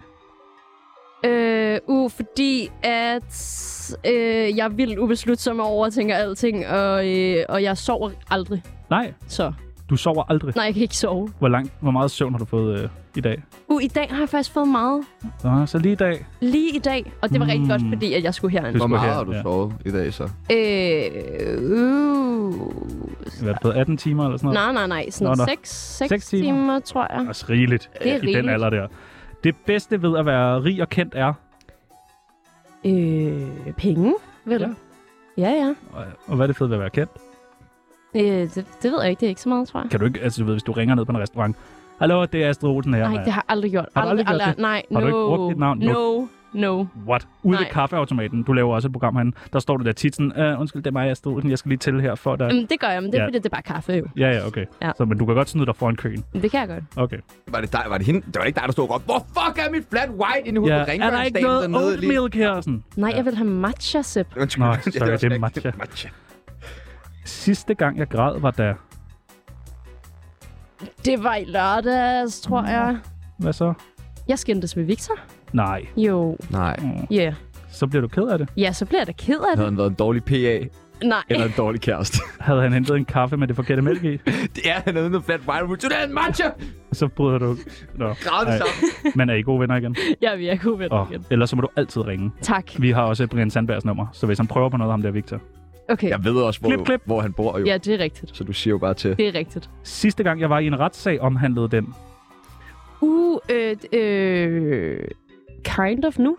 S3: Øh, uh, fordi at øh, jeg er vildt ubeslutsom og overtænker alting, og, øh, og jeg sover aldrig.
S2: Nej,
S3: Så,
S2: du sover aldrig.
S3: nej, jeg kan ikke sove.
S2: Hvor, langt, hvor meget søvn har du fået øh, i dag?
S3: Uh, i dag har jeg faktisk fået meget.
S2: Nå, så lige i dag.
S3: Lige i dag, og det var mm. rigtig godt,
S2: Mm.
S3: fordi at jeg skulle herind.
S1: Hvor
S2: Du skulle
S1: meget
S2: her,
S1: har du
S2: ja.
S1: sovet i dag så?
S3: Øh, uh.
S2: Hvad har du fået? 18 timer eller sådan noget?
S3: Nej, nej, nej.
S2: Nå,
S3: Sådan
S2: nå.
S3: 6, 6,
S2: Seks timer.
S3: timer. tror jeg.
S2: Også rigeligt øh,
S3: Det er
S2: i den
S3: rigeligt.
S2: alder der. Det bedste ved at være rig og kendt er...
S3: Øh, penge, vel?
S2: Ja.
S3: Ja, ja. ja.
S2: Og, og hvad er det fedt ved at være kendt?
S3: Øh, det, det ved jeg ikke. Det er ikke så meget, tror jeg.
S2: Kan du ikke... Altså, du ved, hvis du ringer ned på en restaurant... Hallo, det er Astrid Olsen her.
S3: Nej,
S2: mand."
S3: det har jeg aldrig gjort.
S2: Har du aldrig gjort det?
S3: Nej,
S2: Har
S3: no.
S2: du ikke brugt dit navn?
S3: No, no.
S2: What? Ude Nej. ved
S3: Nej.
S2: kaffeautomaten. Du laver også et program herinde. Der står du der tit sådan, "Øh, undskyld, det er mig, Astrid Olsen. Jeg skal lige til her for øh, dig.
S3: Jamen, det gør jeg, men det
S2: Ja.
S3: er ja. fordi, det er bare kaffe, jo.
S2: Ja, ja, okay.
S3: Ja.
S2: Så, men du kan godt snyde dig foran køen.
S3: Det kan jeg godt.
S2: Okay.
S1: Var det dig? Var det hende? Det var ikke dig, der stod og råbte, hvor fuck er mit flat white inde i hovedet
S2: Ja.
S1: ja. på
S2: Er der ikke
S1: rengøringsdagen
S2: noget
S1: dernede?
S2: oat milk her? og Sådan.
S3: Nej, jeg vil have matcha sip.
S1: Undskyld.
S2: Nå,
S1: Ja, det var
S2: sorry, det er
S1: slet ikke-
S2: matcha.
S1: matcha.
S2: Sidste gang, jeg græd, var da...
S3: Det var i lørdags, tror jeg.
S2: Hvad så?
S3: Jeg skændtes med Victor.
S2: Nej.
S3: Jo,
S1: Nej.
S3: ja. Yeah.
S2: Så bliver du ked af det.
S3: Ja, så bliver jeg da ked af
S1: Havde
S3: det.
S1: han været en dårlig PA
S3: Nej,
S1: eller en dårlig kæreste?
S2: Havde han hentet en kaffe med det forkerte mælk i,
S1: det er han havde noget flat white. Would you have matcha?
S2: så bryder du... Nå,
S1: Græd det
S2: nej.
S1: sammen.
S2: Men er I gode venner igen?
S3: jeg vil ikke kunne
S2: Oh,
S3: igen.
S2: ellers så må du altid ringe.
S3: Tak.
S2: Vi har også Brian Sandbergs nummer, så hvis han prøver på noget, ham der Victor.
S3: Okay.
S1: Jeg ved også, hvor,
S2: Klip, klip.
S1: hvor han bor jo.
S3: Ja, det er rigtigt.
S1: Så du siger jo bare til.
S3: Det er rigtigt.
S2: Sidste gang, jeg var i en retssag, omhandlede den.
S3: Uh, øh, øh, kind of nu.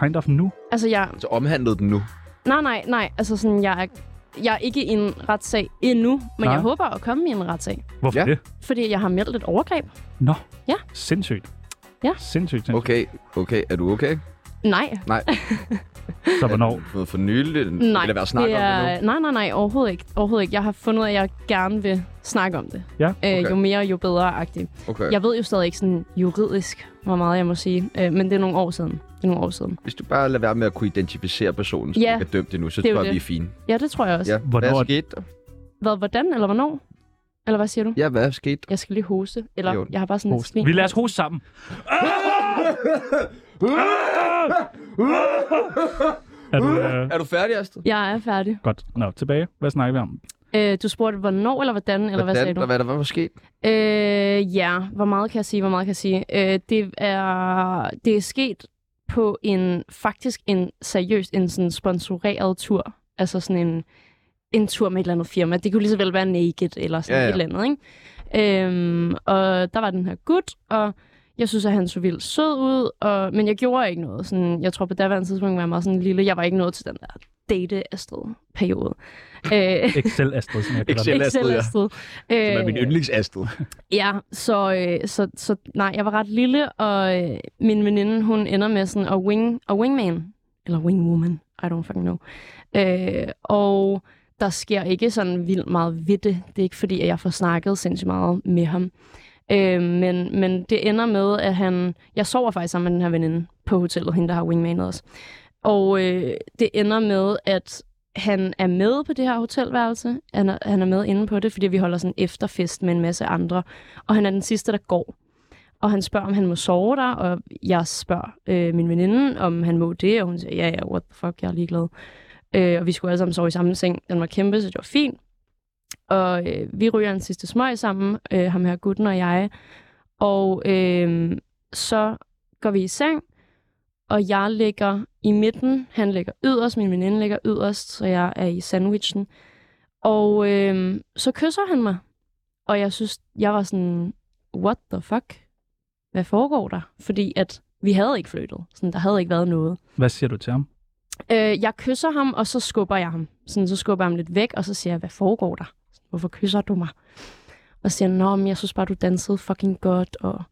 S2: Kind of nu.
S3: Altså, jeg...
S1: Så omhandlede den nu.
S3: Nej, nej, nej. Altså, sådan, jeg, er- jeg er ikke i en retssag endnu, men
S2: Nej.
S3: jeg håber at komme i en retssag.
S2: Hvorfor
S1: Ja.
S2: det?
S3: Fordi jeg har meldt et overgreb.
S2: Nå.
S3: Ja.
S2: Sindssygt.
S3: Ja.
S2: Sindssygt. sindssygt.
S1: Okay, okay. Er du okay?
S3: Nej.
S1: Nej.
S2: Så hvornår?
S1: Noget for nylig?
S3: Nej,
S1: Vil der være snak om det nu?
S3: Nej, nej, nej. Overhovedet ikke. Overhovedet ikke. Jeg har fundet ud af, at jeg gerne vil snakke om det.
S2: Ja,
S1: okay.
S3: Øh, jo mere, jo bedre-agtigt.
S1: Okay.
S3: Jeg ved jo stadig ikke sådan juridisk, hvor meget jeg må sige. Øh, men det er nogle år siden. Det er nogle år siden.
S1: Hvis du bare lader være med at kunne identificere personen, som
S3: Ja,
S1: ikke er dømt endnu, så
S3: det er jo
S1: tror jeg,
S3: det.
S1: vi er fine.
S3: Ja, det tror jeg også.
S1: Ja.
S3: Ja.
S2: Hvornår er
S1: Hvad skete der?
S3: Hvad, hvordan eller hvornår? Eller hvad siger du?
S1: Ja, hvad skete der?
S3: Jeg skal lige hoste. Eller
S1: Jo.
S3: jo. jeg har bare sådan en
S2: Host.
S3: slim.
S2: Vi lader os hoste sammen. er du, øh...
S1: Er du færdig, Astrid?
S3: Jeg er færdig.
S2: Godt. Nå, tilbage. Hvad snakker vi om?
S3: Øh, du spurgte, hvornår eller hvordan, eller hvad sagde du?
S1: Hvad, hvad der var, var sket?
S3: Øh, ja, hvor meget kan jeg sige, hvor meget kan jeg sige? Øh, det, er, det er sket på en, faktisk en seriøst, en sådan sponsoreret tur. Altså sådan en, en tur med et eller andet firma. Det kunne lige så vel være Naked eller sådan
S1: Ja,
S3: ja,
S1: ja.
S3: ja. et eller andet, ikke? Øhm, og der var den her gut, og jeg synes, at han så vildt sød ud, og, men jeg gjorde ikke noget. Sådan, jeg tror på daværende tidspunkt var jeg meget sådan lille. Jeg var ikke nået til den der date-astrid-periode. Øh,
S2: Excel Astrid, som jeg kalder
S1: Excel.
S2: det.
S1: Excel-Astrid, ja.
S3: Excel-Astrid.
S1: Som er min
S3: Øh,
S1: yndlingsastrid.
S3: Ja, så, øh, så, så nej, jeg var ret lille, og øh, min veninde, hun ender med sådan at wing, og wingman, eller wingwoman, I don't fucking know. Øh, og der sker ikke sådan vildt meget ved det. Det er ikke fordi, at jeg får snakket sindssygt meget med ham. Øh, men, men det ender med, at han... Jeg sover faktisk sammen med den her veninde på hotellet, hende der har wingmanet os. Og øh, det ender med, at han er med på det her hotelværelse. Han er, han er med inde på det, fordi vi holder sådan en efterfest med en masse andre. Og han er den sidste, der går. Og han spørger, om han må sove der, og jeg spørger øh, min veninde, om han må det, og hun siger, ja, ja, what the fuck, jeg er ligeglad. Øh, og vi skulle alle sammen sove i samme seng. Den var kæmpe, så det var fint. Og øh, vi ryger en sidste smøg sammen, øh, ham her gutten og jeg. Og øh, så går vi i seng, og jeg ligger i midten. Han ligger yderst, min veninde ligger yderst, så jeg er i sandwichen. Og øh, så kysser han mig. Og jeg synes, jeg var sådan, what the fuck? Hvad foregår der? Fordi at vi havde ikke flyttet. Sådan, der havde ikke været noget.
S2: Hvad siger du til ham?
S3: Øh, jeg kysser ham, og så skubber jeg ham. Sådan, så skubber jeg ham lidt væk, og så siger jeg, hvad foregår der? Hvorfor kysser du mig? Og så siger han, nå, men jeg synes bare, du dansede fucking godt, og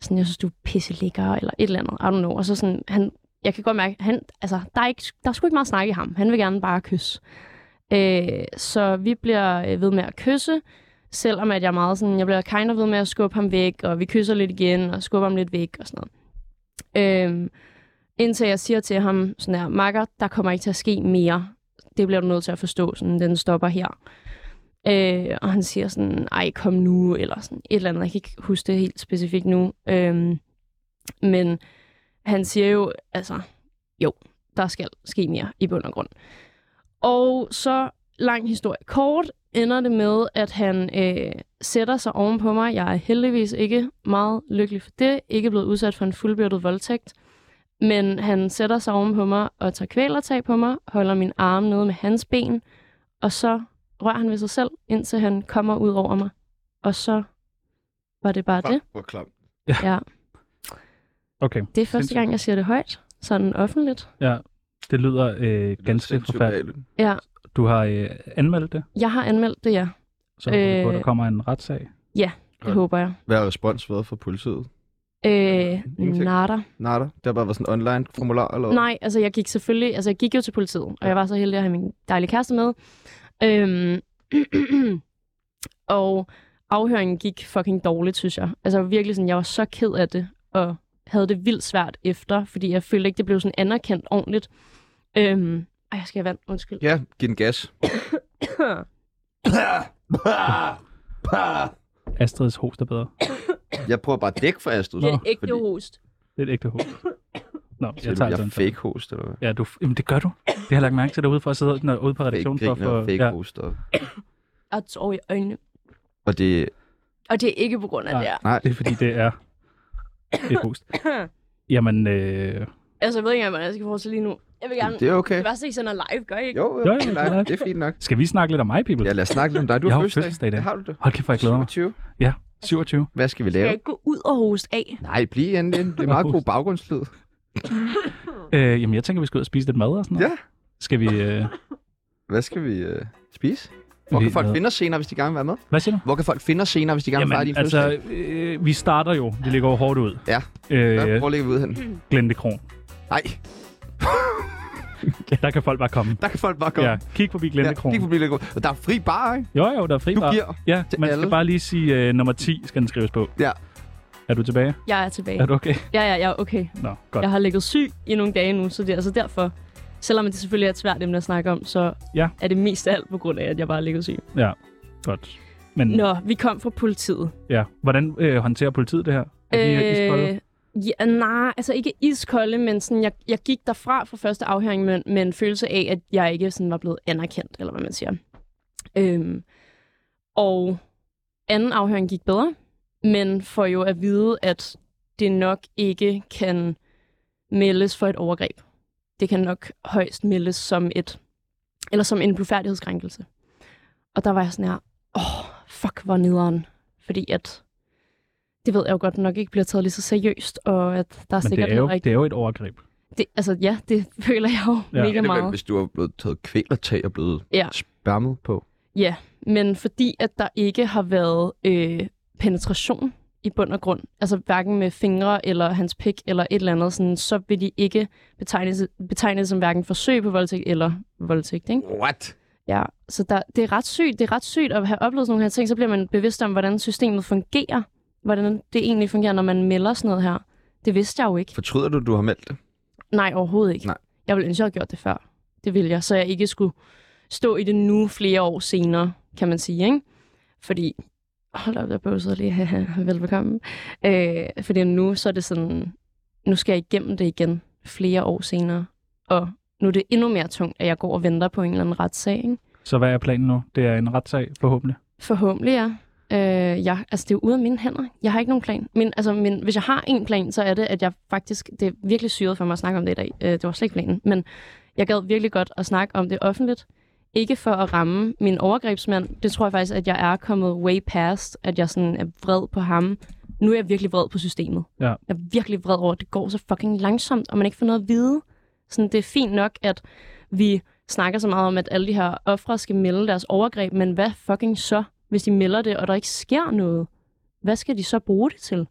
S3: sådan, jeg synes, du er pisselækker, eller et eller andet, I don't know. Og så sådan, han, jeg kan godt mærke, han, altså, der, er ikke, der er sgu ikke meget snak i ham. Han vil gerne bare kysse. Øh, så vi bliver øh, ved med at kysse, selvom at jeg er meget sådan, jeg bliver kind of ved med at skubbe ham væk, og vi kysser lidt igen, og skubber ham lidt væk, og sådan noget. Øh, Indtil jeg siger til ham, sådan her, makker, der kommer ikke til at ske mere. Det bliver du nødt til at forstå, sådan, den stopper her. Øh, og han siger sådan, ej, kom nu, eller sådan et eller andet. Jeg kan ikke huske det helt specifikt nu. Øhm, men han siger jo, altså, jo, der skal ske mere i bund og grund. Og så, lang historie kort, ender det med, at han øh, sætter sig ovenpå mig. Jeg er heldigvis ikke meget lykkelig for det. Ikke blevet udsat for en fuldbyrdet voldtægt. Men han sætter sig oven på mig og tager kvælertag på mig, holder min arm nede med hans ben, og så rører han ved sig selv, indtil han kommer ud over mig. Og så var det bare det.
S1: Hvor klam.
S3: Ja.
S2: Okay,
S3: Det er første gang, jeg siger det højt, sådan offentligt.
S2: det lyder øh, ganske forfærdeligt.
S3: Ja,
S2: Du har øh, anmeldt det,
S3: jeg har anmeldt det, ja.
S2: så øh...
S3: Øh.
S2: der kommer en retssag.
S3: Det håber jeg.
S1: Hvad har respons været fra politiet?
S3: Øh,
S1: Ingenting.
S3: nada.
S1: Nada? Det har bare været sådan en online formular, eller hvad?
S3: Nej, altså jeg gik selvfølgelig, altså jeg gik jo til politiet, og jeg var så heldig at have min dejlige kæreste med. Øhm, og afhøringen gik fucking dårligt, synes jeg. Altså virkelig sådan, jeg var så ked af det, og havde det vildt svært efter, fordi jeg følte ikke, det blev sådan anerkendt ordentligt. Øhm, ej, jeg skal have vand, undskyld.
S1: Ja, giv den gas.
S2: Astrids host er bedre.
S1: Jeg prøver bare at dække for Astrid.
S3: Det er ægte
S1: fordi-
S3: host.
S2: Det er et ægte host. Nå,
S1: Siger
S2: jeg
S1: du,
S2: tager
S1: Jeg
S2: altså
S1: er
S2: en
S1: fake host, eller hvad?
S2: Ja, du, jamen det gør du. Det har jeg lagt mærke til derude for at sidde når, ude på redaktionen.
S1: Fake
S2: For,
S1: griner,
S2: for,
S1: fake
S2: ja.
S1: host. Og,
S3: Jeg har tår i øjnene.
S1: og det,
S3: Og det er ikke på grund af
S2: Nej.
S3: det her.
S1: nej,
S2: Det er fordi, det er et host. Jamen, øh,
S3: Altså, jeg ved ikke engang, hvordan jeg skal fortsætte lige nu. Jeg vil gerne...
S1: det er okay.
S3: Det værste, I sender live, gør I ikke?
S1: Jo,
S2: Jo,
S1: jo,
S2: jo, det er
S1: nej,
S2: nok.
S1: det er fint nok.
S2: skal vi snakke lidt om mig, people?
S1: Ja, lad os snakke lidt om dig. Du
S2: Jeg
S1: har
S2: har jo
S1: fødselsdag.
S2: fødselsdag i dag.
S1: Det har du det.
S2: Hold kæft, hvor jeg glæder mig.
S1: 27.
S2: 27.
S1: Hvad skal vi
S3: Skal
S1: lave?
S3: jeg ikke gå ud og hoste af?
S1: Nej, bliv endelig. Det er meget god baggrundslyd.
S2: Øh, jamen, jeg tænker, vi skal ud og spise lidt mad og sådan noget.
S1: Ja.
S2: Skal vi... Øh,
S1: Hvad skal vi øh, spise? Hvor kan
S2: lidt
S1: folk
S2: mad.
S1: finde os senere, hvis de gerne vil være med?
S2: Hvad siger du?
S1: Hvor kan folk finde os senere, hvis de gerne vil fejre din
S2: Jamen,
S1: fødselsdag?
S2: altså, øh, vi starter jo. Det ligger jo hårdt ud.
S1: Ja. Ja,
S2: Øh,
S1: Hvor ligger vi ude hen?
S2: Glente Kron.
S1: Nej,
S2: Der kan folk bare komme.
S1: der kan folk bare komme.
S2: Ja, kig forbi
S1: Ja,
S2: Glente Kron.
S1: lige forbi Lego. Og der er fri bar, ikke?
S2: Jo, jo, der er fri
S1: Du
S2: bar.
S1: giver
S2: Ja,
S1: til
S2: man
S1: alle.
S2: skal bare lige sige, øh, nummer 10 skal den skrives på.
S1: Ja.
S2: Er du tilbage?
S3: Jeg er tilbage.
S2: Er du okay?
S3: Ja, ja, ja, okay.
S2: Nå, godt.
S3: Jeg har ligget syg i nogle dage nu, så det er altså derfor, selvom det selvfølgelig er et svært emne at snakke om, så
S2: Ja.
S3: er det mest af alt på grund af, at jeg bare har ligget syg.
S2: Ja, godt. Men
S3: Nå, vi kom fra politiet.
S2: ja, hvordan øh, håndterer politiet det her? Er de øh... iskolde?
S3: ja, nej, altså ikke iskolde, men sådan, jeg, jeg gik derfra fra første afhøring med, med en følelse af, at jeg ikke sådan var blevet anerkendt, eller hvad man siger. Øhm, og anden afhøring gik bedre, men får jo at vide, at det nok ikke kan meldes for et overgreb. Det kan nok højst meldes som et eller som en blufærdighedskrænkelse. Og der var jeg sådan her, åh, oh, fuck, hvor nederen. Fordi at det ved jeg jo godt nok ikke bliver taget lige så seriøst, og at der er
S2: Men
S3: sikkert
S2: det er, jo,
S3: heller ikke...
S2: det er jo et overgreb.
S3: Det, altså ja, det føler jeg jo
S2: Ja.
S3: ja, mega
S1: det er vel,
S3: meget.
S1: hvis du er blevet taget kvælertag og blevet
S3: Ja.
S1: spærmet på.
S3: Men fordi at der ikke har været øh, penetration i bund og grund, altså hverken med fingre eller hans pik eller et eller andet, sådan, så vil de ikke betegnes, betegnes som hverken forsøg på voldtægt eller voldtægt. Ikke?
S1: What?
S3: Ja, så der, det, er ret sygt, det er ret sygt at have oplevet sådan nogle her ting, så bliver man bevidst om, hvordan systemet fungerer hvordan det egentlig fungerer, når man melder sådan noget her. Det vidste jeg jo ikke.
S1: Fortryder du, du har meldt det?
S3: Nej, overhovedet ikke.
S1: Nej.
S3: Jeg ville ønske, jeg havde gjort det før. Det ville jeg, så jeg ikke skulle stå i det nu flere år senere, kan man sige. Ikke? Fordi, hold op, jeg bøvsede lige. Haha, Velbekomme. Øh, fordi nu så er det sådan, nu skal jeg igennem det igen flere år senere. Og nu er det endnu mere tungt, at jeg går og venter på en eller anden retssag. Ikke?
S2: Så hvad er planen nu? Det er en retssag, forhåbentlig.
S3: Forhåbentlig, ja. Øh, jeg, altså, det er jo ude af mine hænder. Jeg har ikke nogen plan. Men, altså, men hvis jeg har en plan, så er det, at jeg faktisk... Det er virkelig syret for mig at snakke om det i dag. Øh, det var slet ikke planen. Men jeg gad virkelig godt at snakke om det offentligt. Ikke for at ramme min overgrebsmand. Det tror jeg faktisk, at jeg er kommet way past. At jeg sådan er vred på ham. Nu er jeg virkelig vred på systemet.
S2: Ja.
S3: Jeg er virkelig vred over, at det går så fucking langsomt, og man ikke får noget at vide. Sådan, det er fint nok, at vi snakker så meget om, at alle de her ofre skal melde deres overgreb, men hvad fucking så, hvis de melder det, og der ikke sker noget? Hvad skal de så bruge det til?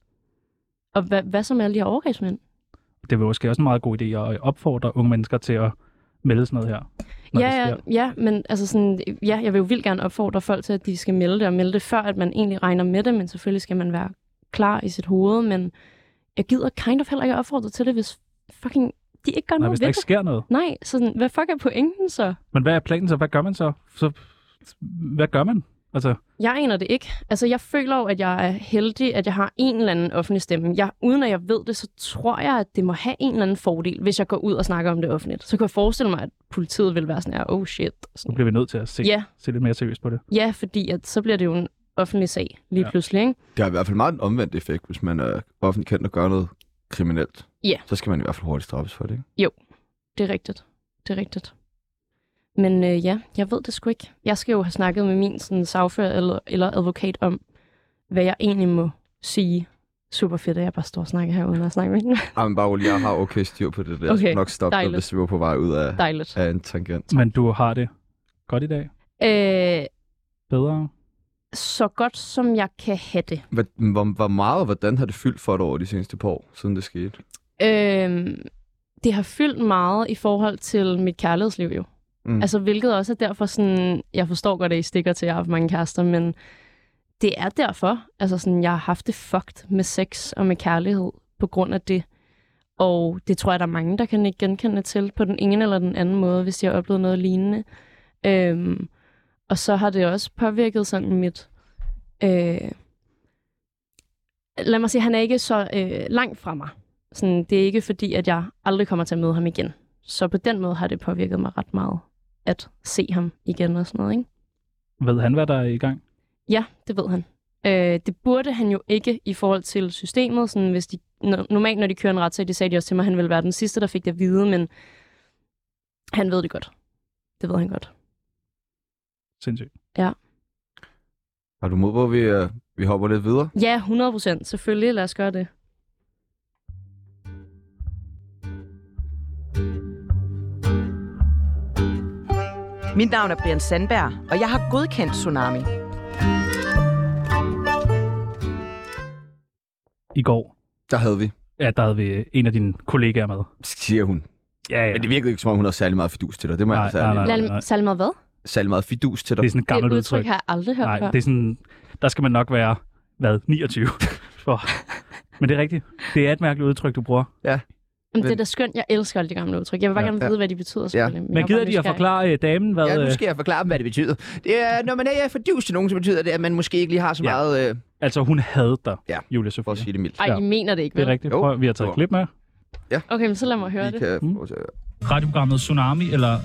S3: Og hvad, hvad så med alle de her overgrebsmænd?
S2: Det var måske også en meget god idé at opfordre unge mennesker til at melde sådan noget her. når det
S3: Ja, ja,
S2: sker.
S3: ja, men altså sådan, ja, jeg vil jo vildt gerne opfordre folk til, at de skal melde det, og melde det før, at man egentlig regner med det, men selvfølgelig skal man være klar i sit hoved, men jeg gider kind of heller ikke opfordre til det, hvis fucking de ikke gør
S2: Nej,
S3: noget
S2: hvis
S3: ved
S2: der
S3: det.
S2: ikke sker noget.
S3: Nej, sådan, hvad fuck er pointen så?
S2: Men hvad er planen så? Hvad gør man så? så hvad gør man? Altså,
S3: Jeg aner det ikke. Altså, jeg føler jo, at jeg er heldig, at jeg har en eller anden offentlig stemme. Jeg, uden at jeg ved det, så tror jeg, at det må have en eller anden fordel, hvis jeg går ud og snakker om det offentligt. Så kunne jeg forestille mig, at politiet vil være sådan her, oh shit.
S2: nu
S3: Sådan.
S2: bliver vi nødt til at se,
S3: Ja.
S2: se lidt mere seriøst på det.
S3: Ja, fordi at, så bliver det jo en offentlig sag lige
S2: Ja.
S3: ja. pludselig, ikke?
S1: Det har i hvert fald meget en omvendt effekt, hvis man er offentlig kendt og gør noget kriminelt.
S3: Ja.
S1: Så skal man i hvert fald hurtigt straffes for det, ikke?
S3: Det er rigtigt. Det er rigtigt. Men øh, ja, jeg ved det sgu ikke. Jeg skal jo have snakket med min sådan, sagfører eller, eller advokat om, hvad jeg egentlig må sige. Super fedt, at jeg bare står og snakker her uden at snakke med hende.
S1: Ej, men bare rolig, jeg har okay styr på det der. Jeg
S3: Okay,
S1: skal nok stoppe dig,
S3: dejligt.
S1: hvis vi var på vej ud af,
S3: Dejligt.
S1: af en tangent.
S2: Men du har det godt i dag.
S3: Øh,
S2: Bedre.
S3: så godt som jeg kan have det.
S1: Hvor, hvor, hvor meget og hvordan har det fyldt for dig over de seneste par år, siden det skete?
S3: Øhm, det har fyldt meget i forhold til mit kærlighedsliv jo.
S1: Mm.
S3: Mm. Altså hvilket også er derfor sådan, jeg forstår godt, at I stikker til, at jeg har haft mange kærester, men det er derfor. Altså sådan, jeg har haft det fucked med sex og med kærlighed på grund af det. Og det tror jeg, der er mange, der kan ikke genkende til på den ene eller den anden måde, hvis de har oplevet noget lignende. Øhm, og så har det også påvirket sådan mit... Øh, lad mig sige, han er ikke så øh, langt fra mig. Sådan, det er ikke fordi, at jeg aldrig kommer til at møde ham igen. Så på den måde har det påvirket mig ret meget at se ham igen og sådan noget. Ikke?
S2: Ved han, hvad der er i gang?
S3: Ja, det ved han. Øh, det burde han jo ikke i forhold til systemet. Sådan, hvis de, no, normalt, når de kører en retssag, det sagde de også til mig, at han ville være den sidste, der fik det at vide, men han ved det godt. Det ved han godt.
S2: Sindssygt.
S1: Har du mod, hvor vi, øh, vi hopper lidt videre?
S3: Ja, 100 procent. Selvfølgelig, lad os gøre det.
S5: Mit navn er Brian Sandberg, og jeg har godkendt Tsunami.
S2: I går,
S1: Der havde vi,
S2: ja, der havde vi en af dine kollegaer med.
S1: siger hun.
S2: Ja, ja.
S1: Men det virkede ikke, som om hun har særlig meget fidus til dig. Det må jeg
S2: Nej,
S1: altså
S2: nej,
S1: ærligt.
S2: nej.
S3: Lad, Salma, hvad?
S1: Særlig meget fidus til
S2: Det er
S1: dig.
S2: sådan et
S3: Det
S2: gammelt
S3: udtryk
S2: udtryk.
S3: har jeg aldrig hørt
S2: Nej,
S3: før.
S2: det er sådan, der skal man nok være, hvad, 29? For. Men det er rigtigt. Det er et mærkeligt udtryk, du bruger.
S3: Men det er da skønt. Jeg elsker alle de gamle udtryk. Jeg vil bare
S2: Ja.
S3: ja, gerne
S1: Ja.
S3: vide, hvad de betyder selvfølgelig. jeg
S2: Men
S3: er
S2: gider
S3: bare
S2: de at
S3: nysgerrig.
S2: forklare øh, damen, hvad...
S1: Ja, nu
S2: øh,
S1: skal jeg forklare dem, hvad det betyder. Det er, når man er fidus til nogen, så betyder det, at man måske ikke lige har så
S2: Ja.
S1: meget, øh,
S2: Altså, hun havde dig,
S1: Ja,
S2: Julie
S1: for at
S2: Sofie.
S1: sige det mildt.
S3: Ej, I mener det ikke,
S2: Det
S3: vel?
S2: er rigtigt.
S1: Jo.
S2: Prøv, vi har taget
S1: Jo.
S2: et klip med.
S3: Okay, men så lad mig høre
S1: Vi
S3: det.
S1: kan
S2: Mm.
S1: fortsætte.
S2: radioprogrammet Tsunami eller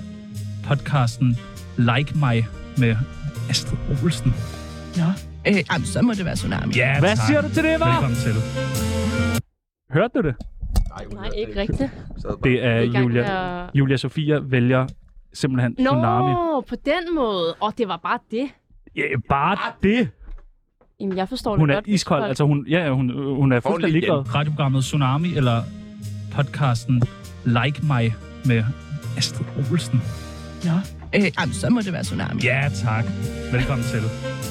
S2: podcasten Like Mig med Astrid Olsen.
S6: Øh, jamen, så må det være tsunami.
S2: Ja, Hvad tak. siger du til det, var? Velkommen til. Hørte du det?
S3: Nej, ikke rigtigt.
S2: Det er
S3: I gang
S2: Julia.
S3: med at-
S2: Julia Sofia vælger simpelthen
S3: Nå,
S2: Tsunami.
S3: på den måde. Og det var bare det.
S2: Ja, bare det.
S3: Jamen, jeg forstår
S2: Hun
S3: det
S2: er
S3: godt. hvis
S2: iskold.
S3: folk-
S2: Altså, hun, ja, hun, hun er fuldstændig
S1: lige igen.
S2: ligeglad. Radioprogrammet Tsunami eller podcasten Like Mig med Astrid Olsen.
S6: Øh, jamen, så må det være tsunami.
S2: Ja, tak. Velkommen til.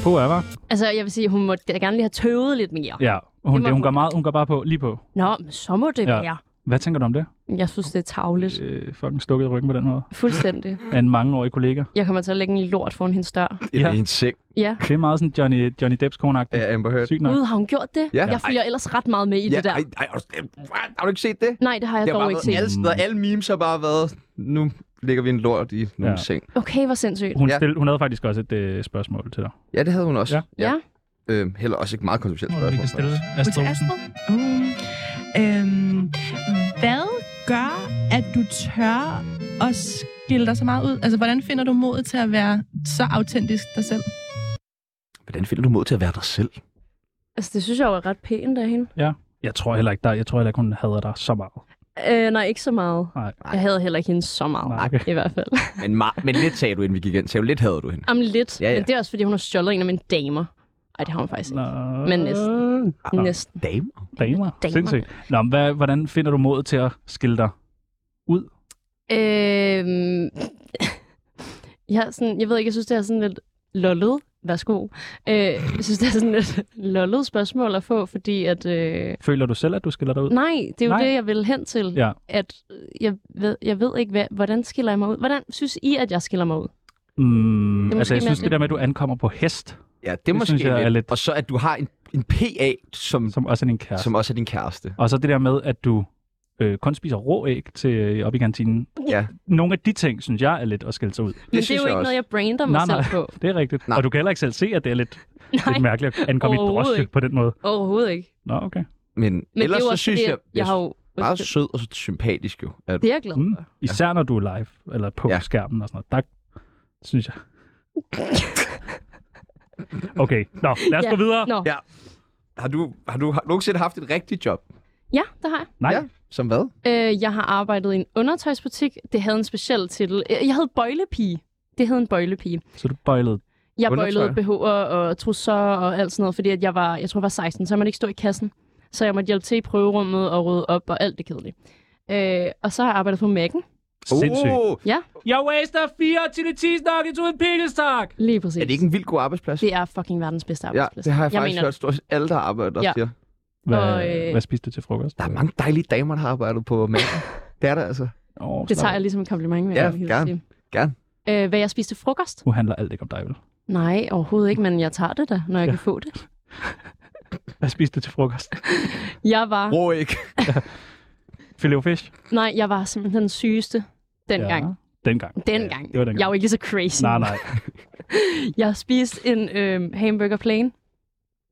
S2: På er var?
S3: altså, jeg vil sige, hun må da gerne lige have tøvet lidt mere.
S2: Ja, hun,
S3: Det
S2: det,
S3: må
S2: hun,
S3: hun.
S2: gør meget, hun går bare på, lige på.
S3: Nå, men så må det
S2: Ja.
S3: ja. være.
S2: Hvad tænker du om det?
S3: Jeg synes, det er tavligt.
S2: Øh, fucking stukket i ryggen på den måde.
S3: Fuldstændig.
S2: Af en mangeårig kollega.
S3: Jeg kommer til at lægge en lort foran hendes dør.
S2: Ja.
S1: Ja. I en seng
S3: Ja.
S2: Det er meget sådan Johnny, Johnny Depps kone
S1: af Amber Heard.
S2: Sygt nok.
S3: Gud, har hun gjort det?
S1: Ja.
S3: Jeg følger ellers ret meget med i det der.
S1: Ej, ej, har du- What? har du ikke set det?
S3: Nej, det har jeg
S1: det har
S3: dog
S1: bare
S3: ikke
S1: været
S3: set.
S1: alle steder. Alle memes har bare været, nu ligger vi en lort i nogle
S2: Ja.
S1: ja. seng.
S3: Okay, hvor sindssygt.
S2: Hun,
S1: Ja.
S2: stille, hun havde faktisk også et øh, spørgsmål til dig.
S1: Ja, det havde hun også.
S2: Ja.
S3: Ja.
S1: Øhm, heller også ikke meget kontroversielt
S2: Hvor vi kan stille
S1: faktisk.
S2: Astrid Olsen.
S6: Astrid? Uh, øhm, hvad gør, at du tør at skille dig så meget ud? Altså, hvordan finder du mod til at være så autentisk dig selv?
S1: Hvordan finder du mod til at være dig selv?
S3: Altså, det synes jeg jo er ret pænt af hende.
S2: Jeg tror heller ikke dig. Jeg tror heller ikke, hun hader dig så meget.
S3: Øh, nej, ikke så meget.
S2: Nej.
S3: Jeg havde heller ikke hende så meget,
S2: Nej,
S3: nej,
S2: okay.
S3: okay. i hvert fald.
S1: Men, ma- men lidt sagde du, inden vi gik ind. Sagde du, lidt havde du hende.
S3: Jamen lidt,
S1: Ja,
S3: ja,
S1: ja.
S3: ja. men det er også, fordi hun har stjålet en af mine damer. Ej, det har hun faktisk ikke.
S2: Nå.
S3: Men næsten.
S2: Nå.
S3: Næsten.
S1: Damer.
S2: Damer.
S3: Damer.
S2: Sindssygt. Nå, men hvad, hvordan finder du mod til at skille dig?
S3: Øhm, jeg, er sådan, jeg ved ikke, jeg synes, det er sådan lidt lollet. Værsgo. Øh, jeg synes, det er sådan et lollet spørgsmål at få, fordi at... Øh,
S2: Føler du selv, at du skiller dig ud?
S3: nej, det er jo
S2: Nej.
S3: nej. det, jeg vil hen til.
S2: Ja.
S3: At øh, jeg ved, jeg ved ikke, hvad, hvordan skiller jeg mig ud? Hvordan synes I, at jeg skiller mig ud?
S2: Mm,
S3: måske
S2: altså, jeg
S3: mere
S2: synes, det
S3: sådan-
S2: der med, at du ankommer på hest,
S1: Ja, det,
S2: Det
S1: det måske
S2: synes jeg er
S1: lidt.
S2: lidt-
S1: Og så, at du har en, en PA, som, som,
S2: som også er din kæreste.
S1: som også er din kæreste.
S2: Og så det der med, at du øh, kun spiser rå æg til øh, op i kantinen.
S1: Ja.
S2: Nogle af de ting, synes jeg, er lidt at skille sig ud.
S3: Men det er
S1: synes
S3: jo
S1: jeg
S3: ikke
S1: også.
S3: noget, jeg brander
S2: Nej,
S3: mig
S2: nej,
S3: selv på.
S2: det er rigtigt. Nej.
S1: Nej.
S2: Og du kan heller ikke selv se, at det er lidt, lidt
S3: Nej,
S2: mærkeligt at ankomme i et
S3: overhovedet
S2: drosje
S3: ikke.
S2: på den måde.
S3: overhovedet ikke.
S2: Nå, okay.
S1: Men,
S3: Men
S1: ellers
S3: det er jo
S1: så
S3: også
S1: synes
S3: fordi,
S1: jeg,
S3: jeg har jo...
S1: meget sød og så sympatisk jo. Er du.
S3: Det er jeg glad
S2: Mm.
S3: for.
S2: Især når du er live, eller på ja.
S1: Ja.
S2: skærmen og sådan noget. Der, synes jeg. Okay, nå, lad os
S3: Ja.
S2: gå videre.
S3: Nå,
S1: Ja. Har du, har du har du nogensinde haft et rigtigt job?
S3: ja, det har jeg.
S2: Nej,
S1: Ja. Som hvad?
S3: Øh, jeg har arbejdet i en undertøjsbutik. Det havde en speciel titel. Øh, Jeg hed bøjlepige. Det hed en bøjlepige.
S2: så du bøjlede.
S3: Jeg
S1: Undertøj?
S3: bøjlede BH'er og trusser og alt sådan noget, fordi at jeg var, jeg tror, jeg var 16, så jeg måtte ikke stå i kassen. Så jeg måtte hjælpe til i prøverummet og rydde op og alt det kedelige. Øh, og så har jeg arbejdet på Mac'en.
S2: Sindssygt.
S1: Oh,
S2: Jeg waster fire chili cheese nuggets uden pickles, tak!
S3: Lige præcis.
S1: er det ikke en vild god arbejdsplads?
S3: det er fucking verdens bedste
S1: ja,
S3: arbejdsplads.
S1: det har jeg,
S3: jeg
S1: faktisk
S3: mener,
S1: hørt stort set alle, der arbejder, der
S3: Ja.
S1: ja. siger.
S2: Hvad,
S3: Og, øh,
S2: hvad spiste du til frokost?
S1: Der er mange dejlige damer, der har arbejdet på mærken. det er der altså.
S2: Oh,
S3: Det tager jeg ligesom et kompliment med.
S1: Ja,
S3: jeg vil hilse
S1: gerne.
S3: sige.
S1: Gerne.
S3: Øh, hvad jeg spiste til frokost?
S2: Nu handler alt ikke om dig, vel?
S3: Nej, overhovedet ikke, men jeg tager det da, når jeg
S2: Ja.
S3: ja. kan få det.
S2: Hvad spiste du til frokost?
S3: Jeg var...
S1: Rå ikke.
S2: Filet og fish?
S3: Nej, jeg var simpelthen den sygeste dengang. Ja.
S2: Dengang.
S3: Dengang.
S2: Ja, det var dengang.
S3: Jeg var ikke lige så crazy.
S2: Nej, Altså, nej.
S3: Jeg spiste en øh, hamburger plain.